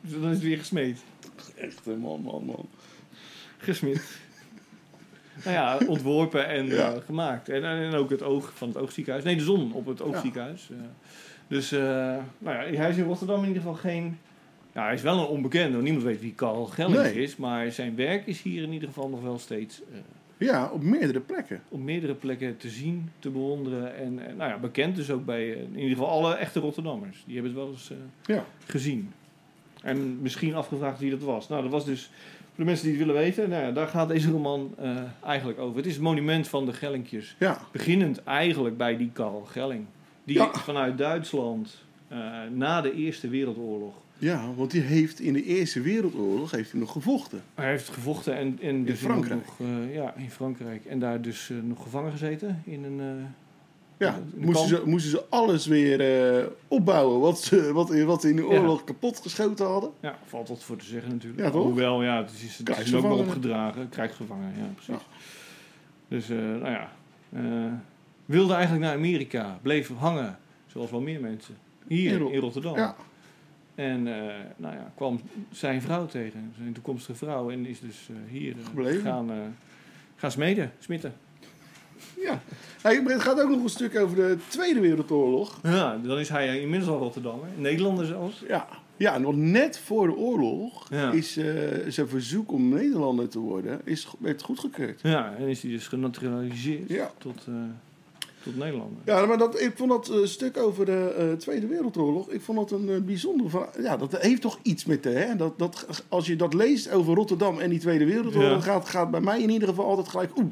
Speaker 5: Dus dan is het weer gesmeed.
Speaker 6: Echt, eh, man, man, man.
Speaker 5: Gesmid. nou ja, ontworpen en
Speaker 6: Ja.
Speaker 5: eh, gemaakt. En, en ook het oog van het oogziekenhuis. Nee, de zon op het oogziekenhuis. Eh, dus eh, nou ja, hij is in Rotterdam in ieder geval geen... Ja, hij is wel een onbekende. want Niemand weet wie Carl Gellings
Speaker 6: Nee.
Speaker 5: is. Maar zijn werk is hier in ieder geval nog wel steeds... eh,
Speaker 6: Ja, op meerdere plekken.
Speaker 5: op meerdere plekken te zien, te bewonderen. En, en, nou ja, bekend dus ook bij eh, in ieder geval alle echte Rotterdammers. Die hebben het wel eens eh,
Speaker 6: Ja.
Speaker 5: gezien. En misschien afgevraagd wie dat was. Nou, dat was dus voor de mensen die het willen weten. Nou ja, daar gaat deze roman eh, eigenlijk over. Het is het monument van de Gellinkjes.
Speaker 6: Ja,
Speaker 5: Beginnend eigenlijk bij die Karl Gelling. Die
Speaker 6: Ja.
Speaker 5: vanuit Duitsland eh, na de Eerste Wereldoorlog
Speaker 6: ja want die heeft in de Eerste Wereldoorlog heeft hij nog gevochten.
Speaker 5: Hij heeft gevochten en, en dus
Speaker 6: Frankrijk.
Speaker 5: Nog, eh, ja, in Frankrijk. En daar dus eh, nog gevangen gezeten in een... eh,
Speaker 6: Ja,
Speaker 5: in een
Speaker 6: moesten
Speaker 5: kamp.
Speaker 6: ze, moesten ze alles weer eh, opbouwen wat ze, wat, wat ze in de oorlog kapot geschoten hadden.
Speaker 5: Ja, valt wat voor te zeggen natuurlijk.
Speaker 6: Ja, toch?
Speaker 5: Hoewel, ja, het is, het is ook wel
Speaker 6: Krijgsgevangenen.
Speaker 5: opgedragen. Krijgsgevangen, ja, precies. Dus, eh, nou ja. eh, wilde eigenlijk naar Amerika. Bleef hangen, zoals wel meer mensen. Hier,
Speaker 6: In
Speaker 5: in,
Speaker 6: Rot-
Speaker 5: Rotterdam.
Speaker 6: Ja,
Speaker 5: En, eh, nou ja, kwam zijn vrouw tegen. Zijn toekomstige vrouw. En is dus eh, hier eh,
Speaker 6: Gebleven.
Speaker 5: gaan, eh, gaan smeden, smitten.
Speaker 6: ja. Hey, het gaat ook nog een stuk over de Tweede Wereldoorlog.
Speaker 5: Ja, dan is hij eh, inmiddels al Rotterdammer. Nederlander zelfs.
Speaker 6: Ja, ja nog net voor de oorlog
Speaker 5: Ja.
Speaker 6: is eh, zijn verzoek om Nederlander te worden is, go- werd goedgekeurd.
Speaker 5: Ja, en is hij dus genaturaliseerd
Speaker 6: Ja.
Speaker 5: tot, eh, tot Nederlander.
Speaker 6: Ja, maar dat, ik vond dat eh, stuk over de eh, Tweede Wereldoorlog, ik vond dat een eh, bijzondere verhaal. Ja, dat heeft toch iets met de, hè? Dat, dat, als je dat leest over Rotterdam en die Tweede Wereldoorlog,
Speaker 5: Ja.
Speaker 6: gaat, gaat bij mij in ieder geval altijd gelijk, oeh,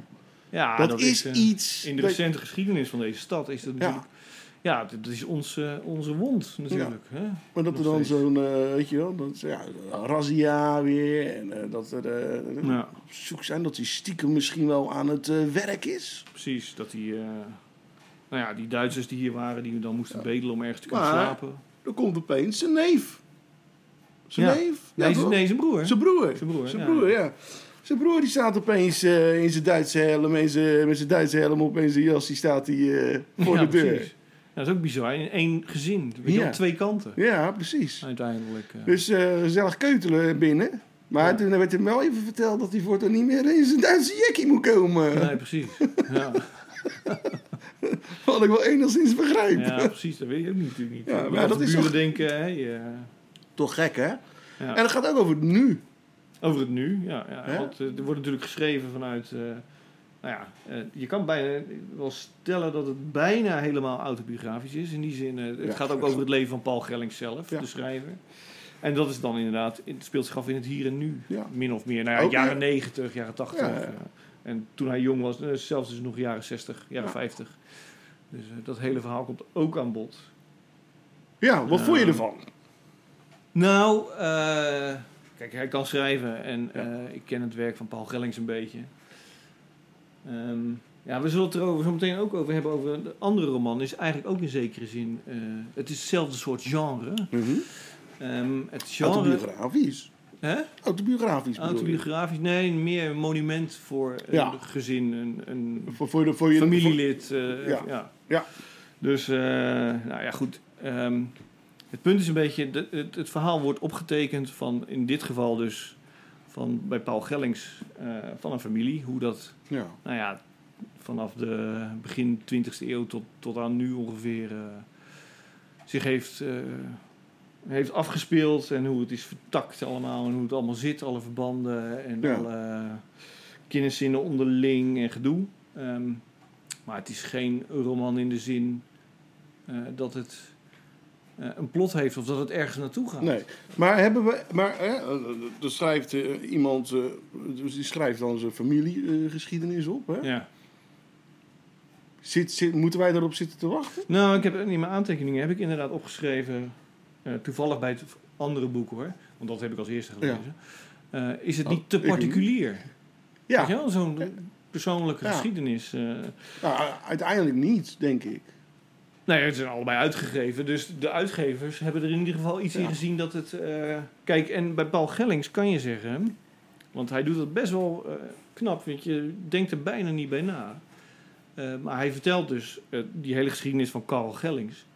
Speaker 5: Ja,
Speaker 6: dat, is
Speaker 5: eh,
Speaker 6: iets...
Speaker 5: In de
Speaker 6: dat-
Speaker 5: recente geschiedenis van deze stad is dat
Speaker 6: ja,
Speaker 5: natuurlijk... Ja, dat is onze, onze wond natuurlijk. Hè?
Speaker 6: maar dat er
Speaker 5: nog
Speaker 6: dan
Speaker 5: steeds.
Speaker 6: zo'n, eh, weet je wel, dat, ja, razzia weer en eh, dat er... eh,
Speaker 5: Ja,
Speaker 6: op zoek zijn dat hij stiekem misschien wel aan het eh, werk is.
Speaker 5: precies. Dat die, eh, nou ja, die Duitsers die hier waren, die dan moesten bedelen om ergens te kunnen
Speaker 6: Maar-
Speaker 5: slapen.
Speaker 6: Dan komt opeens zijn neef. Zijn
Speaker 5: Ja.
Speaker 6: neef? Ja,
Speaker 5: Nee,
Speaker 6: toch?
Speaker 5: zijn- nee, zijn broer.
Speaker 6: Zijn broer.
Speaker 5: Zijn broer,
Speaker 6: Zijn
Speaker 5: ja.
Speaker 6: broer, ja. Zijn broer die staat opeens eh, in zijn Duitse helm, in zijn, met zijn Duitse helm op en zijn jas, die staat hij eh, voor
Speaker 5: Ja,
Speaker 6: de deur.
Speaker 5: precies. Ja, dat is ook bizar. In één gezin. Weet je
Speaker 6: Ja.
Speaker 5: wel, twee kanten.
Speaker 6: Ja, precies.
Speaker 5: Uiteindelijk. eh.
Speaker 6: Dus eh, gezellig keutelen binnen. Maar
Speaker 5: Ja.
Speaker 6: toen werd hem wel even verteld dat hij voortaan niet meer in zijn Duitse jackie moet komen.
Speaker 5: Nee, precies. Ja,
Speaker 6: Wat ik wel enigszins begrijp.
Speaker 5: ja precies. Dat weet je ook natuurlijk niet.
Speaker 6: Ja, maar
Speaker 5: Wat
Speaker 6: dat
Speaker 5: de
Speaker 6: is
Speaker 5: buren
Speaker 6: toch-
Speaker 5: denken, hè, ja.
Speaker 6: Toch gek, hè?
Speaker 5: Ja.
Speaker 6: En het gaat ook over het nu.
Speaker 5: Over het nu, ja. ja
Speaker 6: Hè?
Speaker 5: want eh, er wordt natuurlijk geschreven vanuit... eh, nou ja, eh, je kan bijna wel stellen dat het bijna helemaal autobiografisch is. In die zin, eh, het
Speaker 6: Ja,
Speaker 5: gaat ook
Speaker 6: exact.
Speaker 5: over het leven van Paul Gellings zelf,
Speaker 6: Ja.
Speaker 5: de schrijver. En dat is dan inderdaad, het speelt zich af in het hier en nu.
Speaker 6: Ja.
Speaker 5: Min of meer, nou ja,
Speaker 6: Ook, ja.
Speaker 5: jaren negentig, jaren tachtig. eh,
Speaker 6: Ja, ja.
Speaker 5: En toen hij jong was, eh, zelfs dus nog jaren zestig, jaren
Speaker 6: Ja.
Speaker 5: vijftig. Dus eh, dat hele verhaal komt ook aan bod.
Speaker 6: Ja, wat vond je
Speaker 5: Ja.
Speaker 6: ervan?
Speaker 5: Nou, eh, kijk, hij kan schrijven en eh, ik ken het werk van Paul Gellings een beetje. Ehm, ja, we zullen het er over, zo meteen ook over hebben. Over de andere roman is eigenlijk ook in zekere zin. eh, het is hetzelfde soort genre. Ehm, het genre.
Speaker 6: Autobiografisch.
Speaker 5: Hè?
Speaker 6: Autobiografisch bedoel je?
Speaker 5: Autobiografisch? Nee, meer een monument voor een
Speaker 6: Ja.
Speaker 5: gezin, een, een
Speaker 6: Voor, voor, de, voor je
Speaker 5: familielid. eh,
Speaker 6: Ja.
Speaker 5: ja.
Speaker 6: Ja.
Speaker 5: Dus, eh, nou ja, goed. Ehm, het punt is een beetje, de- het, het verhaal wordt opgetekend van, in dit geval dus, van, bij Paul Gellings, eh, van een familie. Hoe dat,
Speaker 6: voor- ja.
Speaker 5: nou ja, vanaf de begin 20e eeuw tot, tot aan nu ongeveer eh, zich heeft, eh, heeft afgespeeld. En hoe het is vertakt allemaal en hoe het allemaal zit, alle verbanden en
Speaker 6: Ja.
Speaker 5: alle kenniszinnen onderling en gedoe. Ehm, maar het is geen roman in de zin eh, dat het eh, een plot heeft of dat het ergens naartoe gaat.
Speaker 6: Nee, maar hebben we. Maar hè, eh, er schrijft eh, iemand. eh, dus die schrijft dan zijn familiegeschiedenis op. Hè?
Speaker 5: Ja.
Speaker 6: Zit, zit, moeten wij daarop zitten te wachten?
Speaker 5: Nou, ik heb in mijn aantekeningen heb ik inderdaad opgeschreven, eh, toevallig bij het andere boek hoor, want dat heb ik als eerste gelezen. eh, is het
Speaker 6: Oh,
Speaker 5: niet te
Speaker 6: ik niet.
Speaker 5: particulier?
Speaker 6: Ja,
Speaker 5: Weet je wel, zo'n persoonlijke
Speaker 6: Ja.
Speaker 5: geschiedenis. eh.
Speaker 6: Nou, u- uiteindelijk niet, denk ik.
Speaker 5: nou ja, het zijn allebei uitgegeven, dus de uitgevers hebben er in ieder geval iets
Speaker 6: Ja.
Speaker 5: in gezien dat het. eh, kijk, en bij Paul Gellings kan je zeggen, want hij doet dat best wel eh, knap, want je denkt er bijna niet bij na. Eh, maar hij vertelt dus eh, die hele geschiedenis van Carl Gellings.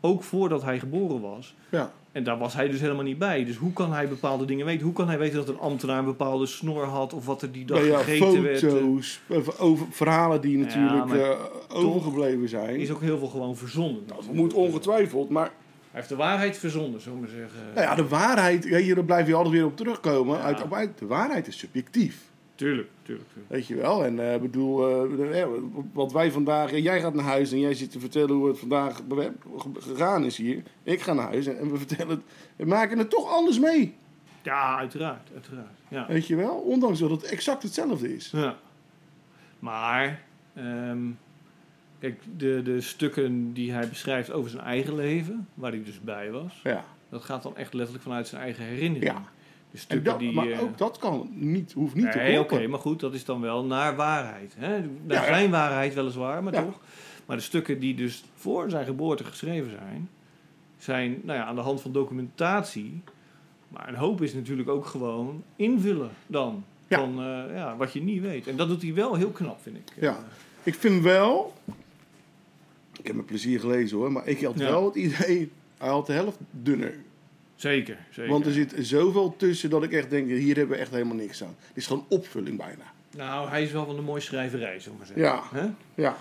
Speaker 5: Ook voordat hij geboren was.
Speaker 6: Ja,
Speaker 5: En daar was hij dus helemaal niet bij. Dus hoe kan hij bepaalde dingen weten? Hoe kan hij weten dat een ambtenaar een bepaalde snor had of wat er die dag
Speaker 6: Nou ja,
Speaker 5: gegeten werd? Eh,
Speaker 6: foto's, eh, over, verhalen die
Speaker 5: Ja,
Speaker 6: natuurlijk
Speaker 5: maar
Speaker 6: eh, overgebleven
Speaker 5: Er
Speaker 6: zijn.
Speaker 5: Eh, is ook heel veel gewoon verzonnen.
Speaker 6: Dat moet ongetwijfeld, maar
Speaker 5: Hij heeft de waarheid verzonnen, zullen we maar zeggen.
Speaker 6: nou ja, de waarheid, weet je, daar blijf je altijd weer op terugkomen.
Speaker 5: Ja.
Speaker 6: Uit, uit- de waarheid is subjectief.
Speaker 5: Tuurlijk, tuurlijk. tuurlijk.
Speaker 6: Weet je wel, en eh, ik bedoel, eh, eh, wat wij vandaag... eh, Jij gaat naar huis en jij zit te vertellen hoe het vandaag be- gegaan is hier. Ik ga naar huis en, en we vertellen het... We maken het toch anders mee,
Speaker 5: Ja, uiteraard, uiteraard. Ja.
Speaker 6: weet je wel? Ondanks dat het exact hetzelfde is.
Speaker 5: Ja. Maar, ehm, kijk, de, de stukken die hij beschrijft over zijn eigen leven, waar hij dus bij was,
Speaker 6: Ja,
Speaker 5: dat gaat dan echt letterlijk vanuit zijn eigen herinnering.
Speaker 6: ja.
Speaker 5: De
Speaker 6: En
Speaker 5: stukken
Speaker 6: dat,
Speaker 5: die.
Speaker 6: maar
Speaker 5: eh,
Speaker 6: ook dat kan niet, hoeft niet
Speaker 5: nee,
Speaker 6: te
Speaker 5: oké,
Speaker 6: kloppen.
Speaker 5: maar goed, dat is dan wel naar waarheid. Hè? Naar
Speaker 6: Ja, ja.
Speaker 5: zijn waarheid weliswaar, maar
Speaker 6: Ja.
Speaker 5: toch. Maar de stukken die dus voor zijn geboorte geschreven zijn, zijn nou ja, aan de hand van documentatie. Maar een hoop is natuurlijk ook gewoon invullen dan.
Speaker 6: Ja.
Speaker 5: Van eh, ja, wat je niet weet. En dat doet hij wel heel knap, vind ik. Eh,
Speaker 6: Ja, ik vind wel... Ik heb met plezier gelezen hoor, maar ik had
Speaker 5: Ja.
Speaker 6: wel het idee... Hij had de helft dunner.
Speaker 5: Zeker, zeker.
Speaker 6: Want dus- er zit zoveel tussen dat ik echt denk... Hier hebben we echt helemaal niks aan. Het is gewoon opvulling bijna.
Speaker 5: Nou, hij is wel van de mooie schrijverij, zullen we maar zeggen.
Speaker 6: Ja,
Speaker 5: Hè?
Speaker 6: ja.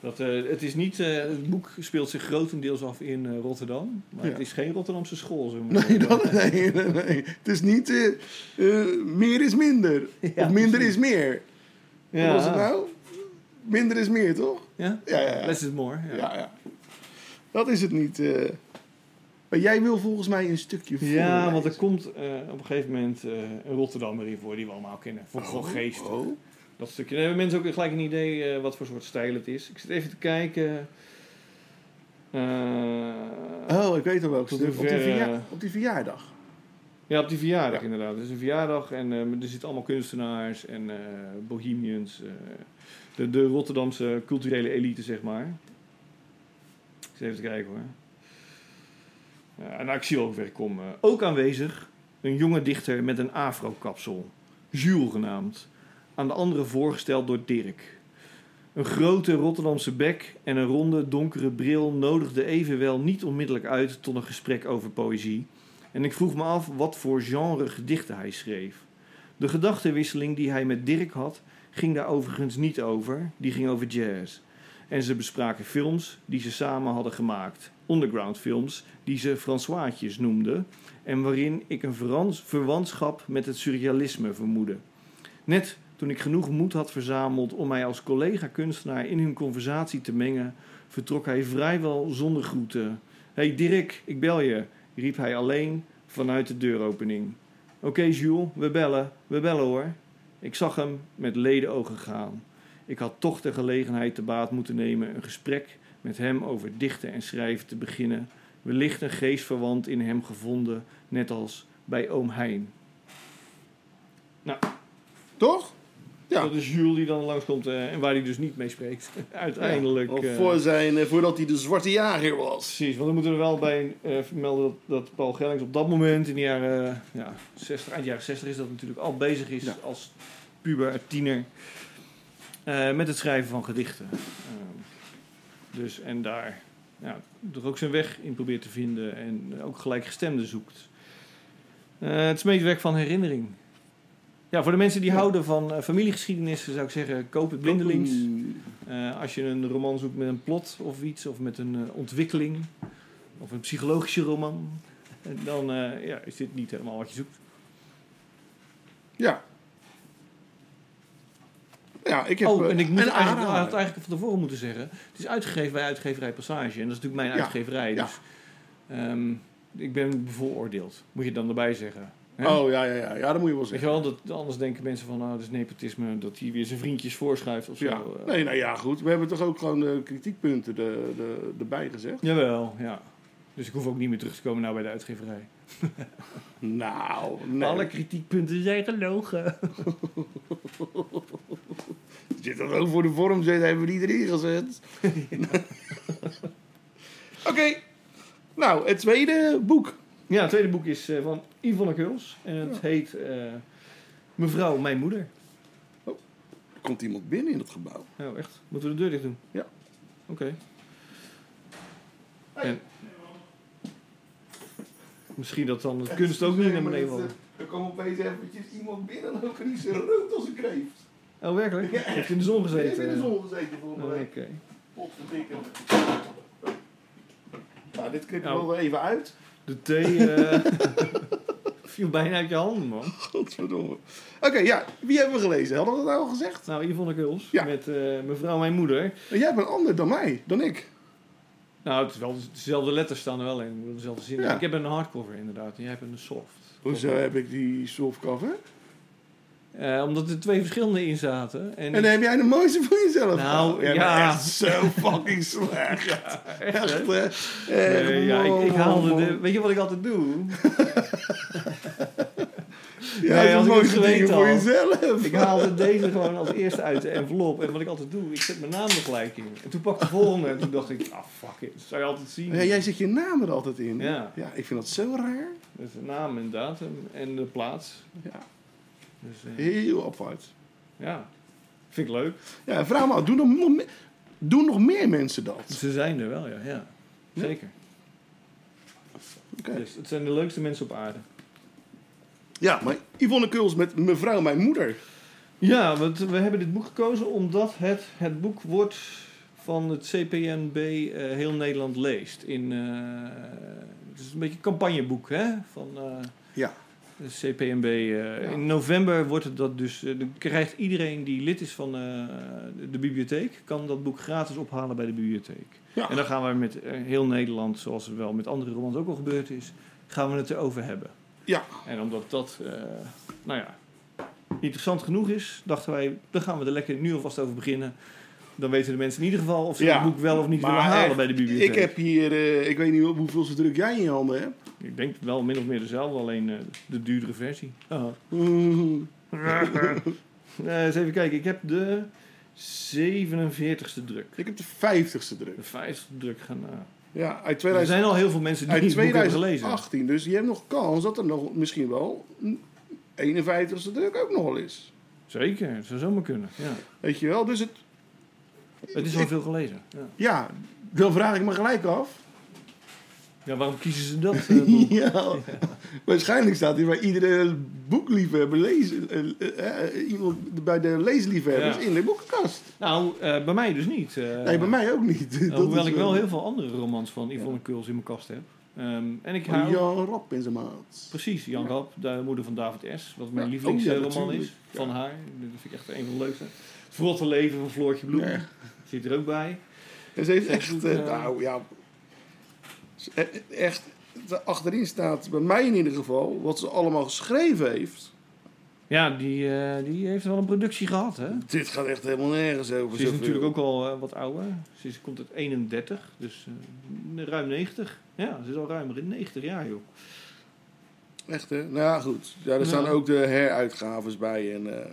Speaker 5: Dat, eh, het, is niet, eh, het boek speelt zich grotendeels af in eh, Rotterdam. Maar
Speaker 6: Ja.
Speaker 5: het is geen Rotterdamse school. Zo
Speaker 6: Nee, dat, nee, nee, nee. Het is niet eh, eh, meer is minder.
Speaker 5: Ja,
Speaker 6: of minder is meer. Hoe
Speaker 5: ja.
Speaker 6: was het nou? Minder is meer, toch?
Speaker 5: Ja?
Speaker 6: Ja, ja, ja.
Speaker 5: Less is more. Ja.
Speaker 6: Ja, ja. Dat is het niet. eh. Maar jij wil volgens mij een stukje
Speaker 5: Ja, want er
Speaker 6: ik
Speaker 5: komt eh, op een gegeven moment eh, een Rotterdammer in voor die we allemaal kennen. Van gewoon geest.
Speaker 6: Oh,
Speaker 5: Dat stukje. Dan hebben mensen ook gelijk een idee eh, wat voor soort stijl het is. Ik zit even te kijken. Eh,
Speaker 6: oh, ik weet al welk
Speaker 5: Tot
Speaker 6: stuk. Op die,
Speaker 5: hoever,
Speaker 6: verja-
Speaker 5: eh,
Speaker 6: op die verjaardag.
Speaker 5: Ja, op die verjaardag
Speaker 6: Ja.
Speaker 5: inderdaad. Het is een verjaardag en eh, er zitten allemaal kunstenaars en eh, bohemians. eh, de, de Rotterdamse culturele elite, zeg maar. Ik zit even te kijken hoor. Ja, en nou, ik zie ook weer kom. eh, ook aanwezig een jonge dichter met een afro-kapsel. Jules genaamd. Aan de anderen voorgesteld door Dirk. Een grote Rotterdamse bek en een ronde donkere bril nodigden evenwel niet onmiddellijk uit tot een gesprek over poëzie. En ik vroeg me af wat voor genre gedichten hij schreef. De gedachtenwisseling die hij met Dirk had, ging daar overigens niet over, die ging over jazz. En ze bespraken films die ze samen hadden gemaakt, underground films die ze Françoisjes noemden en waarin ik een verans- verwantschap met het surrealisme vermoedde. Net toen ik genoeg moed had verzameld om mij als collega-kunstenaar in hun conversatie te mengen, vertrok hij vrijwel zonder groeten. hey Dirk, ik bel je riep hij alleen vanuit de deuropening. Oké, Jules, we bellen, we bellen hoor. Ik zag hem met leden ogen gaan. Ik had toch de gelegenheid te baat moeten nemen een gesprek met hem over dichten en schrijven te beginnen. Wellicht een geestverwant in hem gevonden, net als bij oom Hein.
Speaker 6: Toch? Ja.
Speaker 5: Dat is Jules die dan langskomt eh, en waar hij dus niet mee spreekt. Uiteindelijk.
Speaker 6: Al
Speaker 5: eh,
Speaker 6: voor zijn, eh, voordat hij de zwarte jager was.
Speaker 5: Precies, want dan moeten we er wel bij eh, vermelden dat, dat Paul Gellings op dat moment, in de jaren, eh, ja, 60, eind jaren 60 is dat natuurlijk al bezig is
Speaker 6: Ja.
Speaker 5: als puber, tiener, eh, met het schrijven van gedichten. Ehm, dus en daar ja, er ook zijn weg in probeert te vinden en ook gelijkgestemden zoekt. Eh, het smeedwerk van herinnering. Ja, voor de mensen die
Speaker 6: Ja.
Speaker 5: houden van eh, familiegeschiedenissen zou ik zeggen, koop het blindelings.
Speaker 6: Mm.
Speaker 5: Eh, als je een roman zoekt met een plot of iets, of met een eh, ontwikkeling, of een psychologische roman, dan eh, ja, is dit niet helemaal wat je zoekt.
Speaker 6: Ja. Ja, ik heb...
Speaker 5: oh,
Speaker 6: eh,
Speaker 5: en ik moet
Speaker 6: een
Speaker 5: eigenlijk, had
Speaker 6: aanrader.
Speaker 5: eigenlijk van tevoren moeten zeggen: het is uitgegeven bij uitgeverij Passage, en dat is natuurlijk mijn
Speaker 6: Ja,
Speaker 5: uitgeverij.
Speaker 6: ja.
Speaker 5: Dus, ehm, ik ben bevooroordeeld, moet je dan erbij zeggen. Hè?
Speaker 6: Oh, ja, ja, ja. Ja, dat moet je wel
Speaker 5: Weet
Speaker 6: zeggen.
Speaker 5: je wel, dat, anders denken mensen van, oh, dat is nepotisme, dat hij weer zijn vriendjes voorschuift of zo.
Speaker 6: Ja.
Speaker 5: Eh,
Speaker 6: Nee, nou ja, goed. We hebben toch ook gewoon de kritiekpunten de, de, erbij gezegd.
Speaker 5: Jawel, ja. Dus ik hoef ook niet meer terug te komen nou bij de uitgeverij.
Speaker 6: Nou, nee.
Speaker 5: Alle kritiekpunten zijn gelogen.
Speaker 6: Zit dat ook voor de vorm zit, hebben we die erin gezet. Oké. Nou, het tweede boek.
Speaker 5: Ja, het tweede boek is eh, van Yvonne Kuls. En het heet eh, Mevrouw, mijn moeder.
Speaker 6: Er komt iemand binnen in het gebouw.
Speaker 5: Nou, echt. Moeten we de deur dicht doen?
Speaker 6: Ja.
Speaker 5: Oké. En... Misschien dat dan het kunst ook niet naar beneden valt.
Speaker 6: Er kwam opeens eventjes iemand binnen en ook niet zo rood als een kreeft.
Speaker 5: Oh, werkelijk? Heeft je in de zon
Speaker 6: Die heeft
Speaker 5: gezeten? eh.
Speaker 6: in de zon gezeten volgende
Speaker 5: Oh, Oké.
Speaker 6: week. Potverdikke. Nou, dit knippen we
Speaker 5: Nou.
Speaker 6: wel even uit.
Speaker 5: De thee eh viel bijna uit je handen, man.
Speaker 6: Godverdomme. Oké, ja. Wie hebben we gelezen? Hadden we dat nou al gezegd?
Speaker 5: Nou, Yvonne Kuls
Speaker 6: Ja.
Speaker 5: met eh, Mevrouw, mijn moeder.
Speaker 6: Jij bent ander dan mij, dan ik.
Speaker 5: Nou, het is wel dezelfde letters staan er wel in. ik bedoel, Dezelfde zin.
Speaker 6: Ja.
Speaker 5: Ik heb een hardcover inderdaad en jij hebt een soft.
Speaker 6: Hoezo heb ik die softcover?
Speaker 5: Eh, omdat er twee verschillende in zaten. En,
Speaker 6: En dan heb jij de mooiste voor jezelf.
Speaker 5: Nou,
Speaker 6: Jij
Speaker 5: ja.
Speaker 6: bent echt zo fucking slecht.
Speaker 5: echt, hè?
Speaker 6: Echt, eh, hè? Echt,
Speaker 5: Nee, ja, ik, ik
Speaker 6: man,
Speaker 5: haalde
Speaker 6: man.
Speaker 5: de... Weet je wat ik altijd doe?
Speaker 6: Jij
Speaker 5: Nee,
Speaker 6: hebt de
Speaker 5: als ik het
Speaker 6: mooiste dingen
Speaker 5: geweten
Speaker 6: voor
Speaker 5: had.
Speaker 6: jezelf.
Speaker 5: Ik haalde deze gewoon als eerste uit de envelop. En wat ik altijd doe, ik zet mijn naam er gelijk in. En toen pakte ik de volgende en toen dacht ik... Ah, fuck it. Dat zou je altijd zien.
Speaker 6: Ja, jij zet je naam er altijd in.
Speaker 5: Ja.
Speaker 6: ik vind dat zo raar.
Speaker 5: Dus de naam en datum en de plaats.
Speaker 6: Ja.
Speaker 5: Dus eh,
Speaker 6: Heel apart.
Speaker 5: ja, vind ik leuk.
Speaker 6: Ja, vraag me af, doen nog, nog me- doen nog meer mensen dat?
Speaker 5: Ze zijn er wel, ja. ja. Zeker.
Speaker 6: Oké.
Speaker 5: Dus het zijn de leukste mensen op aarde.
Speaker 6: Ja, maar Yvonne Kuls met Mevrouw Mijn Moeder.
Speaker 5: Ja, want we hebben dit boek gekozen omdat het het boek wordt van het CPNB eh, heel Nederland leest. In, eh, het is een beetje een campagneboek hè? van eh,
Speaker 6: Ja.
Speaker 5: de CPNB. eh. In november wordt het dat dus, eh, dan krijgt iedereen die lid is van eh, de bibliotheek, kan dat boek gratis ophalen bij de bibliotheek.
Speaker 6: Ja.
Speaker 5: En dan gaan we met eh, heel Nederland, zoals het wel met andere romans ook al gebeurd is, gaan we het erover hebben.
Speaker 6: Ja.
Speaker 5: En omdat dat, eh, nou ja, interessant genoeg is, dachten wij, dan gaan we er lekker nu alvast over beginnen. Dan weten de mensen in ieder geval of ze
Speaker 6: Ja.
Speaker 5: het boek wel of niet
Speaker 6: Maar
Speaker 5: willen halen
Speaker 6: echt,
Speaker 5: bij de bibliotheek.
Speaker 6: Ik heb hier, eh, ik weet niet hoe- hoeveel ze druk jij in je handen hebt.
Speaker 5: Ik denk wel min of meer dezelfde, alleen eh, de duurdere versie. Oh.
Speaker 6: Mhm.
Speaker 5: Eh, eens even kijken, ik heb de 47ste druk.
Speaker 6: Ik heb de 50ste druk.
Speaker 5: De 50ste druk gaan. eh,
Speaker 6: Ja, uit,
Speaker 5: er
Speaker 6: 2000,
Speaker 5: zijn al heel veel mensen die
Speaker 6: uit
Speaker 5: het boek hebben gelezen.
Speaker 6: 2018. Dus je hebt nog kans dat er nog misschien wel een 51ste druk ook nog wel is.
Speaker 5: Zeker, het zou zomaar kunnen. Ja.
Speaker 6: Weet je wel? Dus het,
Speaker 5: Het is al veel gelezen. Ja.
Speaker 6: ja, dan vraag ik me gelijk af.
Speaker 5: ja, waarom kiezen ze dat? eh, boek?
Speaker 6: Ja, waarschijnlijk staat hier bij iedere boekliefhebber, lezen, eh, eh, eh, iemand bij de leesliefhebbers
Speaker 5: Ja.
Speaker 6: in de boekenkast.
Speaker 5: nou, eh, bij mij dus niet. eh.
Speaker 6: Nee, bij mij ook niet.
Speaker 5: Eh,
Speaker 6: Dat
Speaker 5: hoewel
Speaker 6: is,
Speaker 5: ik
Speaker 6: eh,
Speaker 5: wel heel veel andere romans van Yvonne Kuls in mijn kast heb. Ehm, en ik hou...
Speaker 6: Oh, Jan Rap in zijn maat.
Speaker 5: Precies, Jan Rap, de moeder van David S. Wat mijn
Speaker 6: Ja, oh ja,
Speaker 5: lievelingsroman
Speaker 6: natuurlijk.
Speaker 5: is van haar. Dat vind ik echt een van de leukste. Het verrotte leven van Floortje Bloem.
Speaker 6: Ja.
Speaker 5: Zit er ook bij.
Speaker 6: En ze heeft
Speaker 5: Zij
Speaker 6: echt,
Speaker 5: doet,
Speaker 6: eh,
Speaker 5: eh,
Speaker 6: nou ja, ze- eh, echt, de- achterin staat, bij mij in ieder geval, wat ze allemaal geschreven heeft.
Speaker 5: Ja, die, eh, die heeft wel een productie gehad, hè?
Speaker 6: Dit gaat echt helemaal nergens over.
Speaker 5: Ze is
Speaker 6: zoveel.
Speaker 5: natuurlijk ook al eh, wat ouder. Ze is, komt uit 31, dus eh, ruim 90. Ja, ze is al ruim in 90 jaar, joh.
Speaker 6: Echt, hè? Nou ja, goed. Ja, er
Speaker 5: Ja.
Speaker 6: staan ook de heruitgaves bij en... eh,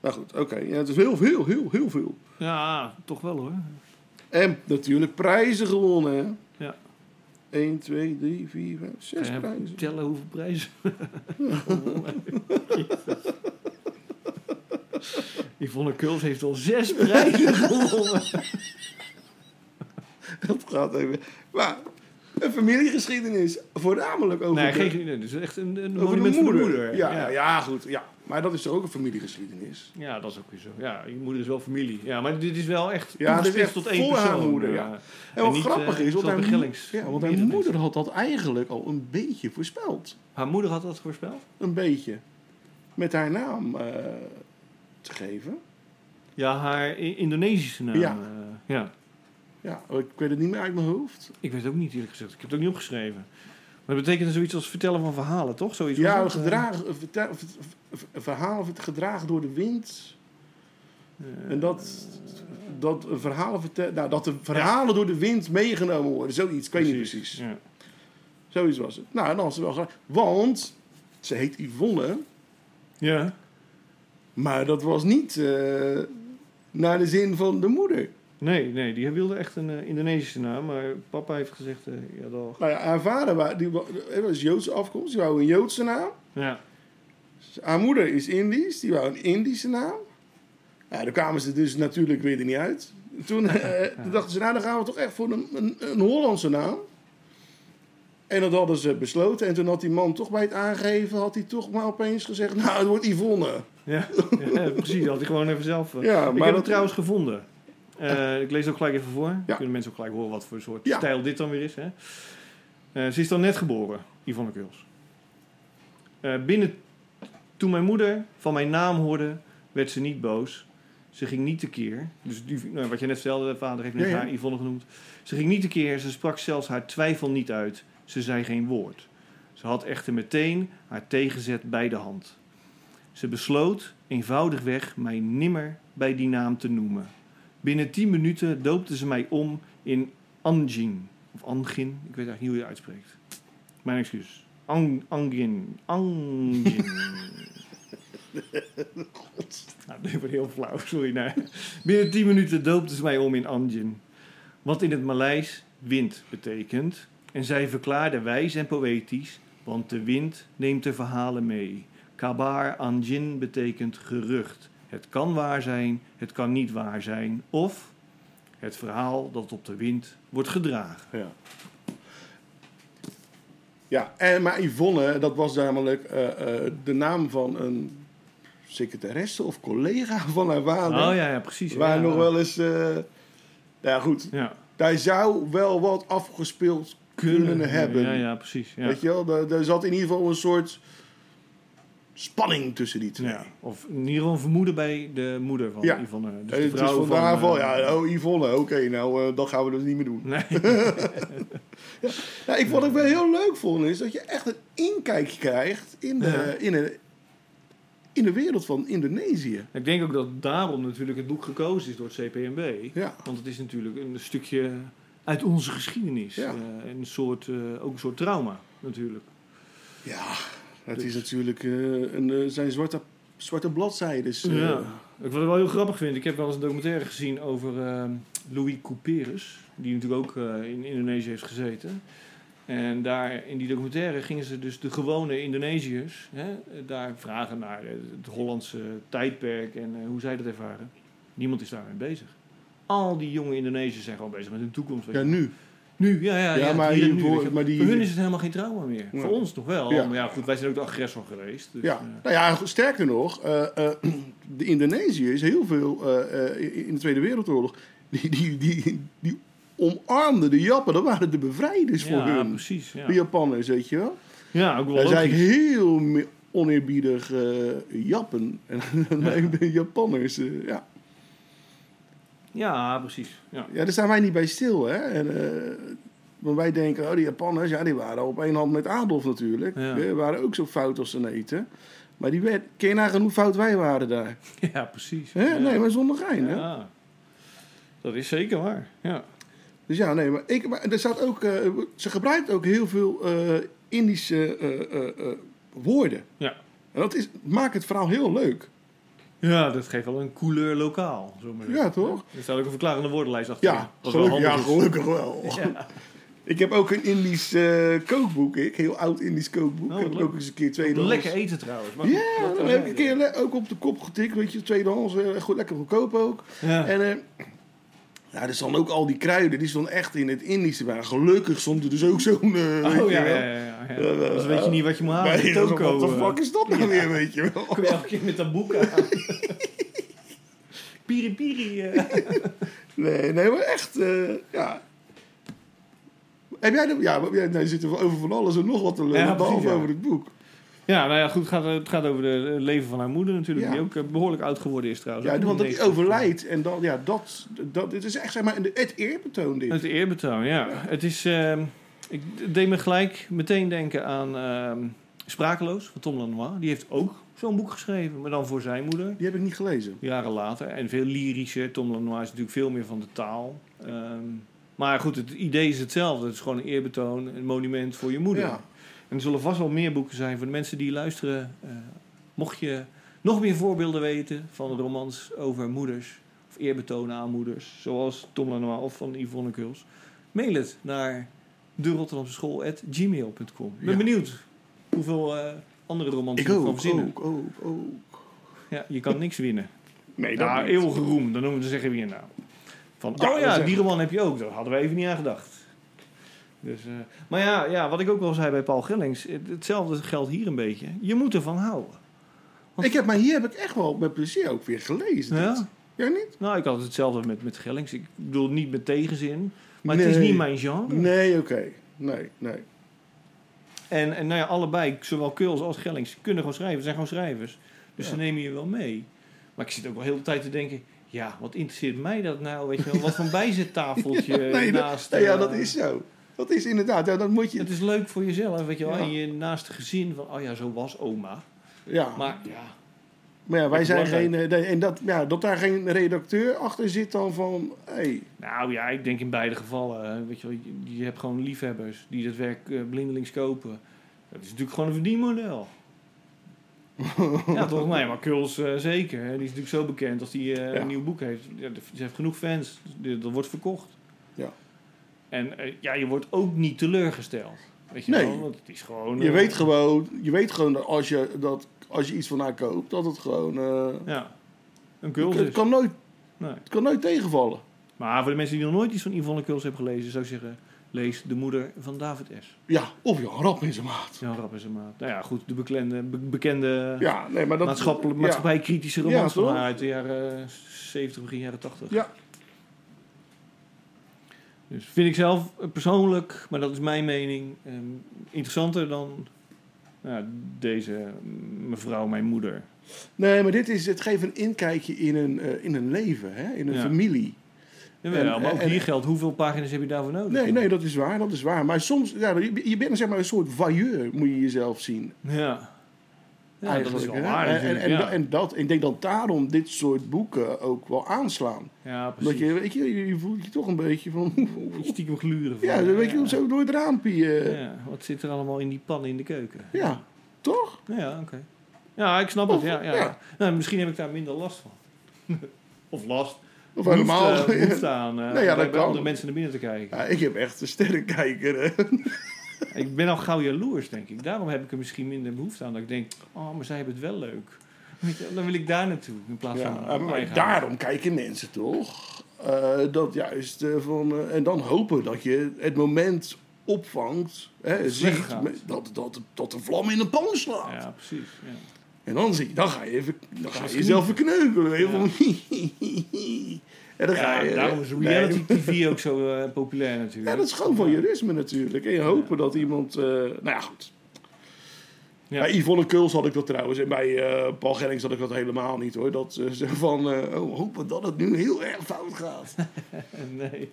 Speaker 6: nou goed, oké. Ja, het is heel veel, heel, heel veel.
Speaker 5: Ja, toch wel, hoor.
Speaker 6: En natuurlijk prijzen gewonnen, hè?
Speaker 5: Ja.
Speaker 6: 1, 2, 3, 4, 5, 6
Speaker 5: Kan je
Speaker 6: prijzen.
Speaker 5: Tellen hoeveel prijzen. Yvonne Kuls heeft al zes prijzen gewonnen.
Speaker 6: Dat gaat even. Maar een familiegeschiedenis, voornamelijk over.
Speaker 5: Nee,
Speaker 6: de-
Speaker 5: geen, nee, dus echt een, een
Speaker 6: over
Speaker 5: monument
Speaker 6: de moeder.
Speaker 5: Voor de moeder.
Speaker 6: Ja, ja.
Speaker 5: ja.
Speaker 6: goed. Ja. Maar dat is toch ook een familiegeschiedenis?
Speaker 5: Ja, dat is ook weer zo. Ja, je moeder is wel familie. Ja, maar dit is wel echt
Speaker 6: Ja, dit is
Speaker 5: toegespitst
Speaker 6: echt
Speaker 5: tot één
Speaker 6: voor haar
Speaker 5: persoon.
Speaker 6: moeder,
Speaker 5: eh,
Speaker 6: ja.
Speaker 5: en
Speaker 6: En wat
Speaker 5: niet,
Speaker 6: grappig
Speaker 5: eh,
Speaker 6: is, want
Speaker 5: zoals
Speaker 6: haar,
Speaker 5: bij
Speaker 6: mo-
Speaker 5: Gellings.
Speaker 6: ja, want haar
Speaker 5: Meerdere
Speaker 6: moeder had dat eigenlijk al een beetje voorspeld.
Speaker 5: mensen. Haar moeder had dat voorspeld?
Speaker 6: Een beetje. Met haar naam eh, te geven.
Speaker 5: Ja, haar I- Indonesische naam.
Speaker 6: Ja.
Speaker 5: Ja. ja.
Speaker 6: Ja, ik weet het niet meer uit mijn hoofd.
Speaker 5: Ik weet het ook niet eerlijk gezegd. Ik heb het ook niet opgeschreven. Maar dat betekent dus zoiets als vertellen van verhalen, toch? Zoiets was
Speaker 6: Ja,
Speaker 5: dat, eh,
Speaker 6: gedragen, vertel- ver- ver- verhalen ver- gedragen door de wind.
Speaker 5: eh,
Speaker 6: En dat, dat, verhalen vertel, nou, dat de verhalen door de wind meegenomen worden. Zoiets, ik weet niet precies.
Speaker 5: Ja.
Speaker 6: Zoiets was het. Nou, en dan had ze wel gelijk. Want ze heet Yvonne,
Speaker 5: ja.
Speaker 6: maar dat was niet eh, naar de zin van de moeder.
Speaker 5: Nee, nee, die wilde echt een eh, Indonesische naam, maar papa heeft gezegd, eh, ja, dag.
Speaker 6: Nou ja, haar vader wa- die, wa- hij was Joodse afkomst, die wou een Joodse naam.
Speaker 5: Ja,
Speaker 6: Dus Haar moeder is Indisch, die wou een Indische naam. Nou, daar kwamen ze dus natuurlijk weer er niet uit. Toen, eh, toen dachten ze, nou dan gaan we toch echt voor een, een, een Hollandse naam. En dat hadden ze besloten. En toen had die man toch bij het aangeven, had hij toch maar opeens gezegd, nou het wordt Yvonne.
Speaker 5: ja, ja precies, had ik gewoon even zelf. eh.
Speaker 6: Ja,
Speaker 5: ik
Speaker 6: maar
Speaker 5: heb
Speaker 6: dat-
Speaker 5: het trouwens gevonden. Eh, ik lees het ook gelijk even voor.
Speaker 6: Ja.
Speaker 5: Kunnen mensen ook gelijk horen wat voor soort
Speaker 6: Ja.
Speaker 5: stijl dit dan weer is. Hè? Eh, ze is dan net geboren, Yvonne Kuls. Eh, binnen, toen mijn moeder van mijn naam hoorde, werd ze niet boos. Ze ging niet tekeer. Dus die, nou, wat je net vertelde, vader heeft net
Speaker 6: Ja, ja.
Speaker 5: haar Yvonne genoemd. Ze ging niet tekeer, ze sprak zelfs haar twijfel niet uit. Ze zei geen woord. Ze had echter meteen haar tegenzet bij de hand. Ze besloot eenvoudigweg mij nimmer bij die naam te noemen. Binnen tien minuten doopte ze mij om in Angin. Of Angin, ik weet eigenlijk niet hoe je het uitspreekt. Mijn excuus. Ang, angin. Angin. nou, dit wordt heel flauw, sorry. Nee. Binnen tien minuten doopte ze mij om in Angin. Wat in het Maleis wind betekent. En zij verklaarde wijs en poëtisch, want de wind neemt de verhalen mee. Kabar Anjin betekent gerucht. Het kan waar zijn, het kan niet waar zijn. Of het verhaal dat op de wind wordt gedragen.
Speaker 6: Ja. Ja, en, maar Yvonne, dat was namelijk eh, eh, de naam van een secretaresse of collega van haar vader.
Speaker 5: Oh ja, ja precies.
Speaker 6: Waar
Speaker 5: ja.
Speaker 6: nog wel eens eh, Nou ja, goed.
Speaker 5: Ja.
Speaker 6: Daar zou wel wat afgespeeld kunnen, hebben.
Speaker 5: Ja, ja, precies. Ja.
Speaker 6: Weet je wel, daar, daar zat in ieder geval een soort spanning tussen die twee. Eh,
Speaker 5: Ja. Of in ieder geval een vermoeden bij de moeder van
Speaker 6: Ja.
Speaker 5: Yvonne. Dus
Speaker 6: en
Speaker 5: de
Speaker 6: het is
Speaker 5: vrouw
Speaker 6: van daarvan,
Speaker 5: eh,
Speaker 6: ja, oh Yvonne, oké, nou, eh, dan gaan we dat niet meer doen.
Speaker 5: Nee,
Speaker 6: Ja, ik vond het wel heel leuk vond is dat je echt een inkijkje krijgt in de, in de, in de wereld van Indonesië.
Speaker 5: ik denk ook dat daarom natuurlijk het boek gekozen is door het CPMB.
Speaker 6: Ja,
Speaker 5: Want het is natuurlijk een stukje uit onze geschiedenis.
Speaker 6: Ja.
Speaker 5: Eh, een soort, eh, ook een soort trauma natuurlijk.
Speaker 6: ja het is natuurlijk eh, een, eh, zijn zwarte, zwarte bladzijdes. eh.
Speaker 5: Ja. Ik, wat ik wel heel grappig vind, ik heb wel eens een documentaire gezien over ehm, Louis Couperus, die natuurlijk ook eh, in Indonesië heeft gezeten. En daar in die documentaire gingen ze dus de gewone Indonesiërs hè, daar vragen naar eh, het Hollandse tijdperk en eh, hoe zij dat ervaren. Niemand is daarmee bezig. Al die jonge Indonesiërs zijn gewoon bezig met hun toekomst. weet
Speaker 6: Ja,
Speaker 5: je.
Speaker 6: nu.
Speaker 5: Nu, ja, ja.
Speaker 6: Ja,
Speaker 5: ja,
Speaker 6: maar
Speaker 5: hier en nu,
Speaker 6: hiervoor-
Speaker 5: weet je.
Speaker 6: maar die-
Speaker 5: Voor hun is het helemaal geen trauma meer.
Speaker 6: Ja.
Speaker 5: Voor ons nog wel.
Speaker 6: Ja.
Speaker 5: Maar ja, goed, wij zijn ook de agressor geweest. Dus, eh,
Speaker 6: Ja, nou ja, sterker nog, eh, eh, de Indonesiërs, heel veel eh, eh, in de Tweede Wereldoorlog, die, die, die, die omarmden de Jappen. Dat waren de bevrijders voor
Speaker 5: ja,
Speaker 6: hun.
Speaker 5: precies. Ja.
Speaker 6: De Japanners, weet je wel.
Speaker 5: ja, ook wel
Speaker 6: Daar
Speaker 5: logisch.
Speaker 6: zijn heel me- oneerbiedig eh, Jappen. En dan
Speaker 5: Ja.
Speaker 6: ik ben Japanners. eh, ja.
Speaker 5: Ja, precies. Ja.
Speaker 6: ja, daar staan wij niet bij stil, hè. En, eh, want wij denken, oh, die Japanners, ja, die waren op één hand met Adolf natuurlijk.
Speaker 5: Ja.
Speaker 6: Die waren ook zo fout als ze eten. Maar die werd, ken je nagaan hoe fout wij waren daar?
Speaker 5: ja, precies.
Speaker 6: Hè?
Speaker 5: Ja.
Speaker 6: Nee, maar zonder gein, hè.
Speaker 5: Ja. Dat is zeker waar. Ja.
Speaker 6: Dus ja, nee, maar, ik, maar er staat ook, eh, ze gebruikt ook heel veel eh, Indische eh, eh, eh, woorden.
Speaker 5: Ja.
Speaker 6: En dat is, maakt het verhaal heel leuk.
Speaker 5: ja, dat geeft wel een couleur lokaal. Zo maar zeggen.
Speaker 6: Ja, toch?
Speaker 5: Er staat ook een verklarende woordenlijst achter.
Speaker 6: Ja, gelukkig,
Speaker 5: dus.
Speaker 6: ja gelukkig wel. Ik heb ook een Indisch eh, kookboek, ik. Heel oud Indisch kookboek.
Speaker 5: Oh, wat
Speaker 6: heb ik
Speaker 5: leuk.
Speaker 6: ook eens een keer tweedehands.
Speaker 5: Lekker eten trouwens. Maar goed,
Speaker 6: Ja,
Speaker 5: dat
Speaker 6: dan
Speaker 5: kan
Speaker 6: heb ik een
Speaker 5: zijn.
Speaker 6: keer le- ook op de kop getikt. Weet je, tweedehands. eh, goed, lekker goedkoop ook.
Speaker 5: Ja.
Speaker 6: En eh, ja, er stonden ook al die kruiden. Die stonden echt in het Indische. Maar gelukkig stond er dus ook zo'n... eh, weet je
Speaker 5: Oh ja,
Speaker 6: wel.
Speaker 5: ja, ja, ja, ja. Anders weet je niet wat je moet halen.
Speaker 6: Nee, dat is-
Speaker 5: Toko,
Speaker 6: wat de
Speaker 5: Ah, eh,
Speaker 6: fuck is dat nou weer, weet je wel?
Speaker 5: Kom je elke keer met dat boek aan. piri piri. eh.
Speaker 6: Nee, nee, maar echt, eh, ja. Heb jij, de- ja, maar jij nee, zit er over van alles en nog wat te lullen,
Speaker 5: Ja, precies,
Speaker 6: behalve
Speaker 5: ja.
Speaker 6: over het boek.
Speaker 5: Ja, nou ja, goed. Het gaat, het gaat over de- het leven van haar moeder natuurlijk.
Speaker 6: Ja.
Speaker 5: Die ook eh, behoorlijk oud geworden is trouwens.
Speaker 6: Ja,
Speaker 5: Ook
Speaker 6: want dat hij
Speaker 5: 90.
Speaker 6: overlijdt en dan, ja, dat, dat, het is echt, zeg maar, een- het eerbetoon dit.
Speaker 5: Het e- eerbetoon, ja. Het is, ehm, ik d- deed me gelijk meteen denken aan ehm, Sprakeloos van Tom Lanois. Die heeft ook zo'n boek geschreven, maar dan voor zijn moeder.
Speaker 6: Die heb ik niet gelezen.
Speaker 5: Jaren later. En veel lyrischer. Tom Lanois is natuurlijk veel meer van de taal. Ehm, maar goed, het idee is hetzelfde. Het is gewoon een eerbetoon, een monument voor je moeder.
Speaker 6: Ja.
Speaker 5: En er zullen vast wel meer boeken zijn voor de mensen die luisteren. Eh, mocht je nog meer voorbeelden weten van romans over moeders of eerbetonen aan moeders, zoals Tom Lanois of van Yvonne Kuls, mail het naar de Rotterdamse Ik ben
Speaker 6: Ja.
Speaker 5: benieuwd hoeveel eh, andere romans
Speaker 6: Ik
Speaker 5: je kan
Speaker 6: ook,
Speaker 5: verzinnen.
Speaker 6: ook, ook, ook.
Speaker 5: Ja, je kan niks winnen.
Speaker 6: Nee, dat
Speaker 5: Ja,
Speaker 6: niet.
Speaker 5: eeuwige roem, dan noemen ze zeggen we je nou. Van,
Speaker 6: Ja,
Speaker 5: oh
Speaker 6: dat
Speaker 5: ja,
Speaker 6: is
Speaker 5: die
Speaker 6: echt-
Speaker 5: roman heb je ook. Daar hadden we even niet aan gedacht. Dus, eh, maar ja, ja, wat ik ook wel zei bij Paul Gellings, het- hetzelfde geldt hier een beetje. Je moet ervan houden.
Speaker 6: Ik heb, maar hier heb ik echt wel met plezier ook weer gelezen. dit.
Speaker 5: Ja?
Speaker 6: Jij niet?
Speaker 5: Nou, ik had hetzelfde met, met Gellings. Ik bedoel, niet met tegenzin, maar het
Speaker 6: Nee.
Speaker 5: is niet mijn genre.
Speaker 6: Nee, oké. Nee, nee.
Speaker 5: En, en nou ja, allebei, zowel Keuls als Gellings, kunnen gewoon schrijven. Ze zijn gewoon schrijvers. Dus
Speaker 6: Ja.
Speaker 5: ze nemen je wel mee. Maar ik zit ook wel heel de tijd te denken... Ja, wat interesseert mij dat nou? Weet je wel, wat voor een bijzettafeltje
Speaker 6: nee, dat-
Speaker 5: naast...
Speaker 6: nee, ja,
Speaker 5: eh,
Speaker 6: dat is zo. Dat is inderdaad, ja, dat moet je...
Speaker 5: Het is leuk voor jezelf, weet je wel.
Speaker 6: Ja.
Speaker 5: En je naaste gezin van, oh ja, zo was oma.
Speaker 6: Oh, Ja. Maar,
Speaker 5: Maar ja,
Speaker 6: ja, wij
Speaker 5: dat is
Speaker 6: zijn geen...
Speaker 5: belangrijk.
Speaker 6: eh, nee, en dat, ja, dat daar geen redacteur achter zit dan van... Hey,
Speaker 5: nou ja, ik denk in beide gevallen, eh, weet je wel, je, je hebt gewoon liefhebbers die dat werk eh, blindelings kopen. Dat is natuurlijk gewoon een verdienmodel. ja, toch? Nee, maar Kuls eh, zeker. Hè? Die is natuurlijk zo bekend als hij eh,
Speaker 6: Ja.
Speaker 5: een nieuw boek heeft. Ja, de- ze heeft genoeg fans. De- Dat wordt verkocht.
Speaker 6: Ja.
Speaker 5: En eh, ja, je wordt ook niet teleurgesteld. Weet je
Speaker 6: Nee.
Speaker 5: wel? Want het is gewoon...
Speaker 6: je,
Speaker 5: eh,
Speaker 6: weet gewoon, je weet gewoon dat als je, dat, als je iets van haar koopt, dat het gewoon... eh,
Speaker 5: Ja, een Kuls
Speaker 6: het,
Speaker 5: is.
Speaker 6: kan nooit,
Speaker 5: Nee.
Speaker 6: het kan nooit tegenvallen.
Speaker 5: Maar voor de mensen die nog nooit iets van Yvonne Kuls hebben gelezen, zou ik zeggen: lees De Moeder van David S.
Speaker 6: Ja, of je rap in zijn maat.
Speaker 5: Jan Rap is een maat. Nou ja, goed, de beklende, be- bekende
Speaker 6: Ja, nee, maar dat...
Speaker 5: maatschappelijk,
Speaker 6: ja.
Speaker 5: maatschappijkritische romans
Speaker 6: Ja,
Speaker 5: van
Speaker 6: toch?
Speaker 5: haar uit de jaren eh, 70, begin jaren 80.
Speaker 6: Ja.
Speaker 5: Dus vind ik zelf eh, persoonlijk, maar dat is mijn mening, eh, interessanter dan nou, deze mm, mevrouw, mijn moeder.
Speaker 6: Nee, maar dit is, het geeft een inkijkje in een, eh, in een leven, hè? in een
Speaker 5: Ja.
Speaker 6: familie.
Speaker 5: Jawel,
Speaker 6: En-
Speaker 5: maar ook
Speaker 6: en-
Speaker 5: hier geldt, hoeveel pagina's heb je daarvoor nodig?
Speaker 6: Nee, nee, dat is waar, dat is waar. Maar soms, ja, je, je bent zeg maar een soort vailleur, moet je jezelf zien.
Speaker 5: Ja. Ja, dat
Speaker 6: eigenlijk,
Speaker 5: is wel
Speaker 6: hè.
Speaker 5: waar
Speaker 6: En, en,
Speaker 5: natuurlijk,
Speaker 6: en,
Speaker 5: ja.
Speaker 6: da- en dat, ik denk dat daarom dit soort boeken ook wel aanslaan.
Speaker 5: ja, precies.
Speaker 6: Omdat je, weet je, je je voelt je toch een beetje van...
Speaker 5: Moet je stiekem gluren. van, eh,
Speaker 6: ja, dan weet je, zo door het raampje. eh. Ja.
Speaker 5: Ja, wat zit er allemaal in die pan in de keuken?
Speaker 6: toch?
Speaker 5: Ja, oké. Ja, ik snap het.
Speaker 6: Of-
Speaker 5: Ja, ja.
Speaker 6: ja.
Speaker 5: Nou, misschien heb ik daar minder last van. of last.
Speaker 6: Of
Speaker 5: Behoefte-
Speaker 6: helemaal.
Speaker 5: behoefte aan. eh
Speaker 6: Nee, ja,
Speaker 5: om
Speaker 6: dat
Speaker 5: bij
Speaker 6: kan.
Speaker 5: andere mensen naar binnen te kijken.
Speaker 6: Ja, ik heb echt een sterrenkijker. hè.
Speaker 5: Ik ben al gauw jaloers, denk ik. Daarom heb ik er misschien minder behoefte aan. Dat ik denk, oh, maar zij hebben het wel leuk. Weet je, dan wil ik daar naartoe. In plaats van...
Speaker 6: Ja,
Speaker 5: op mijn
Speaker 6: maar
Speaker 5: eigen
Speaker 6: daarom kijken mensen toch. Eh, dat juist eh, van... eh, en dan hopen dat je het moment opvangt. Hè,
Speaker 5: het
Speaker 6: ziet
Speaker 5: weggaat.
Speaker 6: me- dat, dat, dat de vlam in de pan slaat.
Speaker 5: Ja, precies. Ja.
Speaker 6: En dan, zie, je- dan ga je, even, dan ga je
Speaker 5: Genieten.
Speaker 6: jezelf verkneukelen. weet je,
Speaker 5: Ja.
Speaker 6: van- en dan ga
Speaker 5: Ja,
Speaker 6: je...
Speaker 5: daarom is
Speaker 6: Nee,
Speaker 5: reality TV ook zo eh, populair natuurlijk.
Speaker 6: Ja, dat is gewoon van jurisme natuurlijk. En je hopen dat iemand... eh, nou ja, goed.
Speaker 5: Ja.
Speaker 6: Bij Yvonne Kuls had ik dat trouwens. En bij eh, Paul Gellings had ik dat helemaal niet hoor. Dat eh, ze van... eh, oh, hopen dat het nu heel erg fout gaat.
Speaker 5: Nee.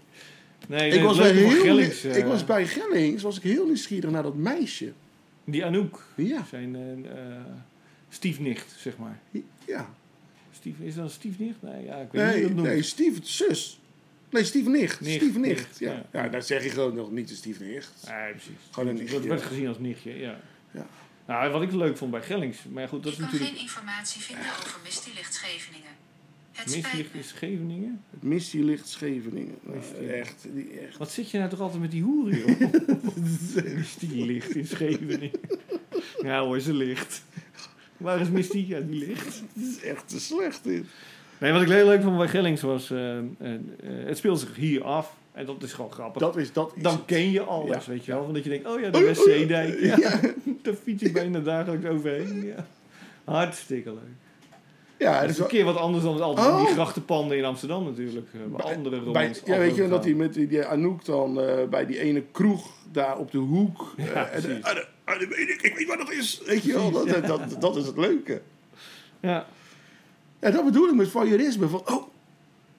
Speaker 5: Nee,
Speaker 6: ik, was bij heel,
Speaker 5: Gellings, eh,
Speaker 6: nie- ik was bij Gellings was ik heel nieuwsgierig naar dat meisje.
Speaker 5: Die Anouk.
Speaker 6: Ja.
Speaker 5: Zijn eh, eh, stiefnicht, zeg maar.
Speaker 6: Ja.
Speaker 5: Stief, is dat een stiefnicht? Nee, ja, ik weet niet
Speaker 6: Nee,
Speaker 5: hoe je dat
Speaker 6: nee,
Speaker 5: noemt.
Speaker 6: Steve zus. Nee, Steve nicht.
Speaker 5: Nicht,
Speaker 6: Steve nicht.
Speaker 5: nicht,
Speaker 6: ja.
Speaker 5: ja.
Speaker 6: Ja. daar zeg je gewoon nog niet de Steve nicht.
Speaker 5: Nee, precies.
Speaker 6: Gewoon een
Speaker 5: Dat
Speaker 6: nichtje.
Speaker 5: werd gezien als nichtje, ja.
Speaker 6: Ja.
Speaker 5: Nou, wat ik leuk vond bij Gellings, maar goed, dat
Speaker 4: Ik
Speaker 5: is
Speaker 4: kan
Speaker 5: natuurlijk...
Speaker 4: geen informatie vinden over Misty Lichtscheveningen. Het spijt
Speaker 5: Mislicht
Speaker 4: me.
Speaker 5: is Scheveningen.
Speaker 6: Missie Licht Scheveningen. Nou,
Speaker 5: Missie.
Speaker 6: echt, die, echt.
Speaker 5: Wat zit je nou toch altijd met die hoeren, joh? Misty ligt in Scheveningen. Ja hoor, ze ligt. Waar is Misty? Ja, die ligt.
Speaker 6: Dit is echt te slecht dit.
Speaker 5: Nee, wat ik heel leuk vond bij Gellings was... eh, eh, eh, het speelt zich hier af. En dat is gewoon grappig.
Speaker 6: Dat is, dat is
Speaker 5: dan
Speaker 6: het.
Speaker 5: ken je alles,
Speaker 6: Ja.
Speaker 5: weet je wel. Omdat je denkt, oh ja,
Speaker 6: Oh
Speaker 5: de
Speaker 6: ja,
Speaker 5: Westzeedijk.
Speaker 6: oh
Speaker 5: Ja,
Speaker 6: ja,
Speaker 5: daar fiets ik bijna dagelijks overheen. Ja. Hartstikke leuk.
Speaker 6: Ja,
Speaker 5: Het
Speaker 6: dat
Speaker 5: is
Speaker 6: is
Speaker 5: een
Speaker 6: wel-
Speaker 5: keer wat anders dan altijd
Speaker 6: Oh.
Speaker 5: die grachtenpanden in Amsterdam natuurlijk. eh, Bij andere romans.
Speaker 6: bij, ja,
Speaker 5: altijd
Speaker 6: weet je, dat
Speaker 5: gaan.
Speaker 6: hij met die, die Anouk dan eh, bij die ene kroeg daar op de hoek. eh,
Speaker 5: Ja,
Speaker 6: en,
Speaker 5: precies.
Speaker 6: eh, ah, dat- ah, dat weet ik, ik weet wat dat is. Weet je wel, dat, dat, dat, dat is het leuke.
Speaker 5: Ja,
Speaker 6: En dat bedoel ik met voyeurisme. Van, oh,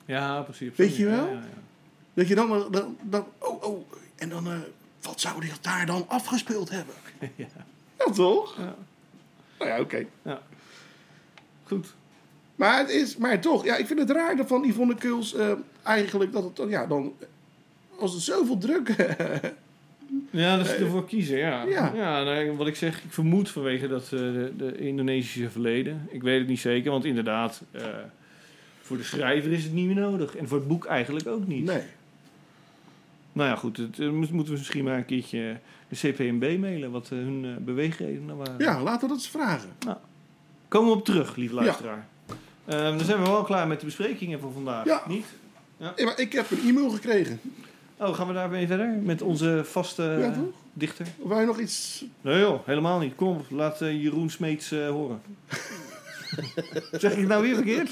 Speaker 5: ja precies. op
Speaker 6: Weet
Speaker 5: zo'n
Speaker 6: je
Speaker 5: manier,
Speaker 6: wel?
Speaker 5: ja, ja, ja.
Speaker 6: dat je dan, maar- dan, dan oh, oh, en dan, eh, wat zou die daar dan afgespeeld hebben?
Speaker 5: Ja.
Speaker 6: Ja, toch?
Speaker 5: Ja.
Speaker 6: Nou ja, oké.
Speaker 5: Goed.
Speaker 6: Maar het is, maar toch, ja, ik vind het raar dat van Yvonne Kuls eh, eigenlijk dat het dan, ja, dan, als het zoveel druk,
Speaker 5: Ja, dat ze ervoor kiezen, ja.
Speaker 6: Eh, Ja.
Speaker 5: Ja, nou, wat ik zeg, ik vermoed vanwege dat eh, de, de Indonesische verleden. Ik weet het niet zeker, want inderdaad, eh, voor de schrijver is het niet meer nodig. En voor het boek eigenlijk ook niet.
Speaker 6: nee.
Speaker 5: Nou ja, goed, het, eh, moet- moeten we misschien maar een keertje de CPMB mailen, wat eh, hun eh, beweegredenen waren.
Speaker 6: Ja, laten we dat eens vragen.
Speaker 5: Komen we op terug, lieve luisteraar. Ehm, dan zijn we wel klaar met de besprekingen voor vandaag,
Speaker 6: Ja.
Speaker 5: niet?
Speaker 6: Ja, maar ik heb een e-mail gekregen.
Speaker 5: Oh, gaan we daarmee verder? Met onze vaste
Speaker 6: Ja,
Speaker 5: eh,
Speaker 6: toch?
Speaker 5: dichter?
Speaker 6: Of wij nog iets.
Speaker 5: Nee joh, helemaal niet. Kom, op, laat eh, Jeroen Smeets eh, horen. zeg ik het nou weer verkeerd?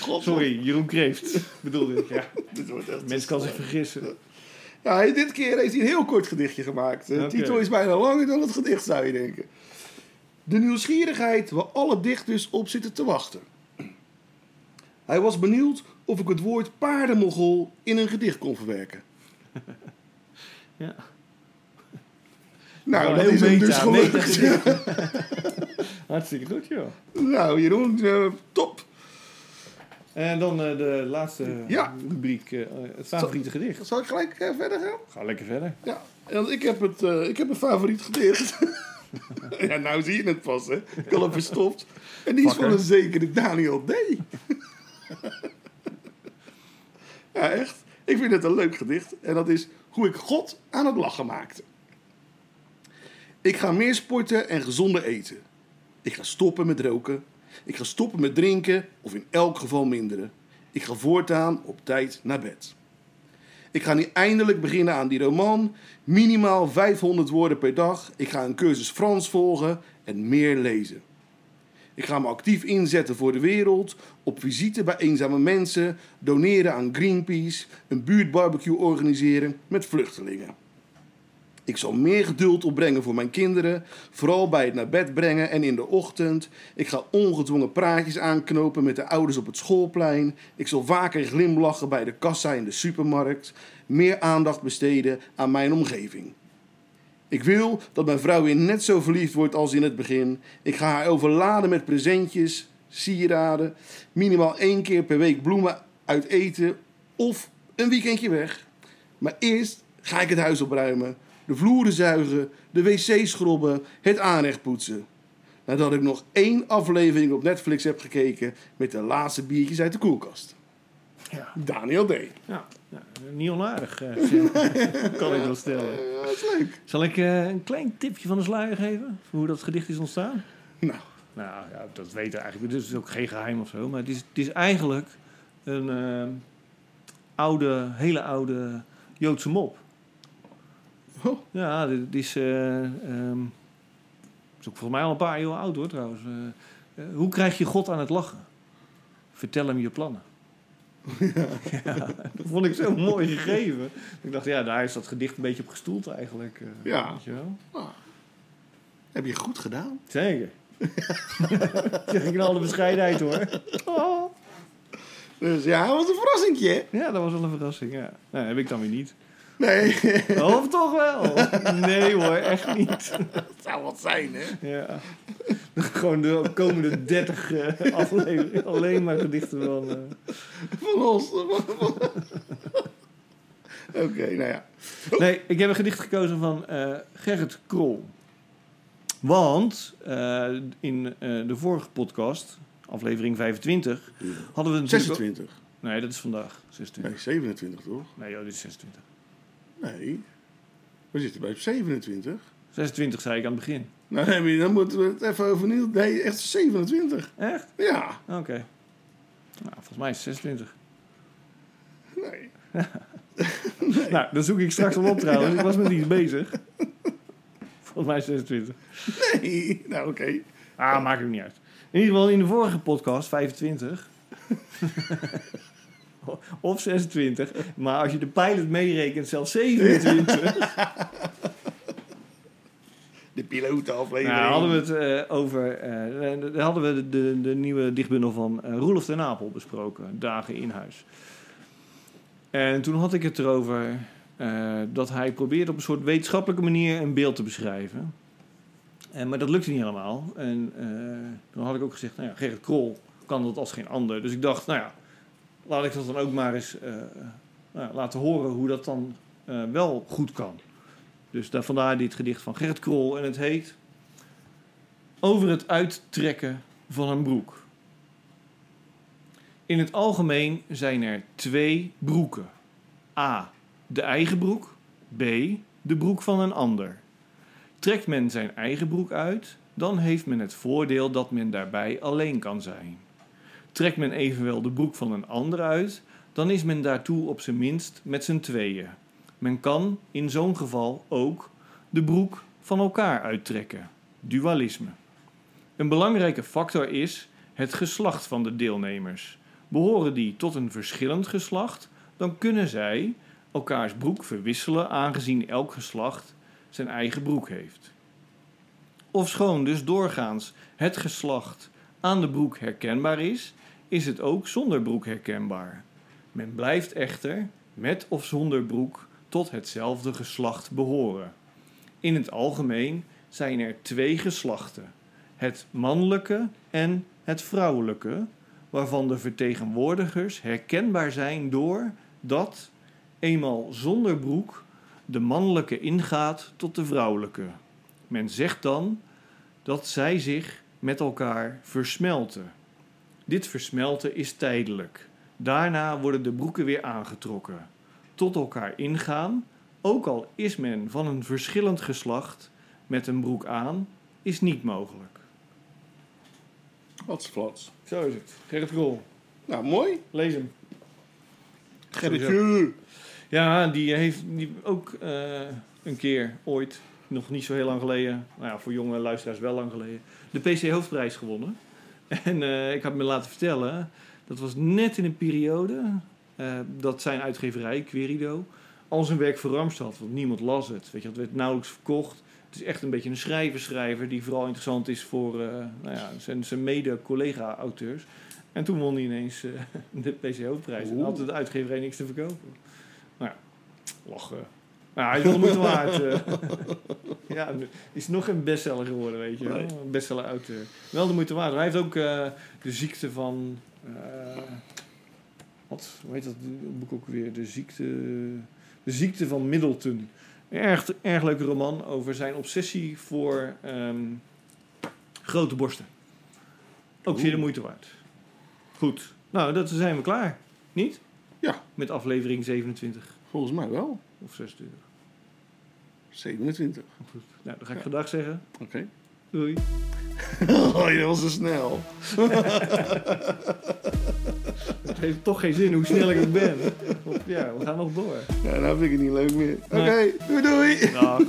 Speaker 6: God,
Speaker 5: Sorry, Jeroen Kreeft bedoelde ik. Ja.
Speaker 6: Dit wordt echt-
Speaker 5: Mens kan zich vergissen.
Speaker 6: Ja, hij- dit keer heeft hij een heel kort gedichtje gemaakt. De
Speaker 5: Oké.
Speaker 6: titel is bijna langer dan het gedicht, zou je denken. De nieuwsgierigheid waar alle dichters op zitten te wachten. Hij was benieuwd of ik het woord paardenmogol in een gedicht kon verwerken.
Speaker 5: Ja.
Speaker 6: Nou,
Speaker 5: Gewoon
Speaker 6: dat
Speaker 5: heel
Speaker 6: is hem
Speaker 5: meta,
Speaker 6: dus
Speaker 5: meta
Speaker 6: gelukt.
Speaker 5: gedicht. Hartstikke goed joh.
Speaker 6: Nou, Jeroen, eh, top.
Speaker 5: En dan eh, de laatste
Speaker 6: Ja.
Speaker 5: rubriek, eh, het favoriete gedicht.
Speaker 6: Zal ik gelijk eh, verder gaan?
Speaker 5: Ga lekker verder.
Speaker 6: Ja, want ik heb, het, eh, ik heb een favoriet gedicht. ja, nou zie je het pas, hè. Ik had hem verstopt. En die is van
Speaker 5: Fucker.
Speaker 6: een zekere Daniel D. ja, echt. Ik vind het een leuk gedicht. En dat is hoe ik God aan het lachen maakte. Ik ga meer sporten en gezonder eten. Ik ga stoppen met roken. Ik ga stoppen met drinken of in elk geval minderen. Ik ga voortaan op tijd naar bed. Ik ga nu eindelijk beginnen aan die roman. Minimaal 500 woorden per dag. Ik ga een cursus Frans volgen en meer lezen. Ik ga me actief inzetten voor de wereld, op visite bij eenzame mensen, doneren aan Greenpeace, een buurtbarbecue organiseren met vluchtelingen. Ik zal meer geduld opbrengen voor mijn kinderen, vooral bij het naar bed brengen en in de ochtend. Ik ga ongedwongen praatjes aanknopen met de ouders op het schoolplein. Ik zal vaker glimlachen bij de kassa in de supermarkt. Meer aandacht besteden aan mijn omgeving. Ik wil dat mijn vrouw weer net zo verliefd wordt als in het begin. Ik ga haar overladen met presentjes, sieraden, minimaal één keer per week bloemen uit eten of een weekendje weg. Maar eerst ga ik het huis opruimen, de vloeren zuigen, de wc schrobben, het aanrecht poetsen. Nadat ik nog één aflevering op Netflix heb gekeken met de laatste biertjes uit de koelkast.
Speaker 5: Ja.
Speaker 6: Daniel D.
Speaker 5: Ja, ja, niet onaardig, eh, Sam. kan ik wel stellen.
Speaker 6: Dat is leuk.
Speaker 5: Zal ik eh, een klein tipje van de sluier geven? Voor hoe dat gedicht is ontstaan?
Speaker 6: Nou,
Speaker 5: Nou, ja, dat weten we eigenlijk. Dus het is ook geen geheim of zo. Maar het is, het is eigenlijk een eh, oude, hele oude Joodse mop.
Speaker 6: Oh.
Speaker 5: Ja, dit is, eh, ehm, is ook volgens mij al een paar eeuwen oud hoor trouwens. Eh, eh, hoe krijg je God aan het lachen? Vertel hem je plannen. Ja. dat vond ik zo mooi gegeven. Ik dacht, ja, daar is dat gedicht een beetje op gestoeld eigenlijk. eh,
Speaker 6: Ja.
Speaker 5: Weet je wel?
Speaker 6: heb je goed gedaan.
Speaker 5: Zeker. zeg ik in alle bescheidenheid hoor. Oh.
Speaker 6: Dus ja, wat een verrassingje. hè?
Speaker 5: Ja, dat was wel een verrassing. Ja. Nou, heb ik dan weer niet.
Speaker 6: Nee,
Speaker 5: Of toch wel? Nee hoor, echt niet.
Speaker 6: dat zou wat zijn, hè?
Speaker 5: Ja. Gewoon de komende 30 eh, afleveringen alleen maar gedichten van. eh.
Speaker 6: Van ons. Van- van- Oké, nou ja.
Speaker 5: Nee, ik heb een gedicht gekozen van eh, Gerrit Krol. Want eh, in eh, de vorige podcast, aflevering 25, hadden we natuurlijk...
Speaker 6: 26.
Speaker 5: Nee, dat is vandaag. 26.
Speaker 6: Nee, 27 toch?
Speaker 5: Nee, joh, dit is 26.
Speaker 6: Nee. We zitten bij 27.
Speaker 5: 26 zei ik aan het begin.
Speaker 6: Nou, nee, maar dan moeten we het even overnieuw. Nee, echt 27.
Speaker 5: Echt?
Speaker 6: Ja.
Speaker 5: Oké. Nou, volgens mij is het 26.
Speaker 6: Nee.
Speaker 5: Nou, dat zoek ik straks al op trouwens. Ik was met iets bezig. Volgens mij is het 26.
Speaker 6: Nee. Nou, oké.
Speaker 5: Ah, maakt ook niet uit. In ieder geval in de vorige podcast, 25. of 26. Maar als je de pilot meerekent, zelfs 27.
Speaker 6: De pilotenaflevering.
Speaker 5: Nou, hadden we het eh, over. eh, eh, daar hadden we de, de, de nieuwe dichtbundel van eh, Roelof ten Apel besproken, Dagen in Huis. En toen had ik het erover eh, dat hij probeerde op een soort wetenschappelijke manier een beeld te beschrijven. En, maar dat lukte niet helemaal. En eh, toen had ik ook gezegd: Nou ja, Gerrit Krol kan dat als geen ander. Dus ik dacht, nou ja, laat ik dat dan ook maar eens eh, nou ja, laten horen hoe dat dan eh, wel goed kan. Dus daar, vandaar dit gedicht van Gerrit Krol. En het heet over het uittrekken van een broek. In het algemeen zijn er twee broeken. A. De eigen broek. B. De broek van een ander. Trekt men zijn eigen broek uit, dan heeft men het voordeel dat men daarbij alleen kan zijn. Trekt men evenwel de broek van een ander uit, dan is men daartoe op zijn minst met z'n tweeën. Men kan in zo'n geval ook de broek van elkaar uittrekken. Dualisme. Een belangrijke factor is het geslacht van de deelnemers. Behoren die tot een verschillend geslacht, dan kunnen zij elkaars broek verwisselen, aangezien elk geslacht zijn eigen broek heeft. Ofschoon dus doorgaans het geslacht aan de broek herkenbaar is, is het ook zonder broek herkenbaar. Men blijft echter, met of zonder broek, tot hetzelfde geslacht behoren. In het algemeen zijn er twee geslachten: het mannelijke en het vrouwelijke, waarvan de vertegenwoordigers herkenbaar zijn door dat, eenmaal zonder broek, de mannelijke ingaat tot de vrouwelijke. Men zegt dan dat zij zich met elkaar versmelten. Dit versmelten is tijdelijk. Daarna worden de broeken weer aangetrokken, tot elkaar ingaan ook al is men van een verschillend geslacht met een broek aan, is niet mogelijk.
Speaker 6: Wat flats.
Speaker 5: Zo is het. Gerrit Kool,
Speaker 6: Nou, mooi.
Speaker 5: lees hem.
Speaker 6: Gerritje.
Speaker 5: Ja, die heeft die ook eh, een keer ooit, nog niet zo heel lang geleden, nou ja, voor jonge luisteraars wel lang geleden, de PC Hoofdprijs gewonnen. En eh, ik had me laten vertellen, dat was net in een periode eh, dat zijn uitgeverij, Querido, al zijn werk verramst had. Want niemand las het. Weet je, het werd nauwelijks verkocht. Het is echt een beetje een schrijver-schrijver die vooral interessant is voor eh, nou ja, zijn, zijn mede-collega-auteurs. En toen won hij ineens eh, de PCO-prijs. En
Speaker 6: Oeh.
Speaker 5: had de uitgeverij niks te verkopen. Nou ja, lachen. Nou, hij is wel de moeite waard. eh. ja, nu is nog een bestseller geworden, weet je wel.
Speaker 6: Nee.
Speaker 5: Een bestseller-auteur. Wel de moeite waard. Hij heeft ook eh, de ziekte van... eh, wat? Hoe heet dat boek ook weer? De ziekte... De ziekte van Middleton. Een erg, erg leuke roman over zijn obsessie voor ehm, grote borsten. Ook zeer de moeite waard. Goed. Nou, dat zijn we klaar. Niet?
Speaker 6: Ja.
Speaker 5: Met aflevering 27
Speaker 6: Volgens mij wel.
Speaker 5: of 26.
Speaker 6: 27.
Speaker 5: Nou, dan ga ik gedag zeggen.
Speaker 6: Oké.
Speaker 5: Doei.
Speaker 6: Oh, je was zo snel.
Speaker 5: Het heeft toch geen zin hoe snel ik ook ben. Want Ja, we gaan nog door.
Speaker 6: Ja, nou vind ik het niet leuk meer. Oké,
Speaker 5: Nee.
Speaker 6: doei doei.
Speaker 5: Dag.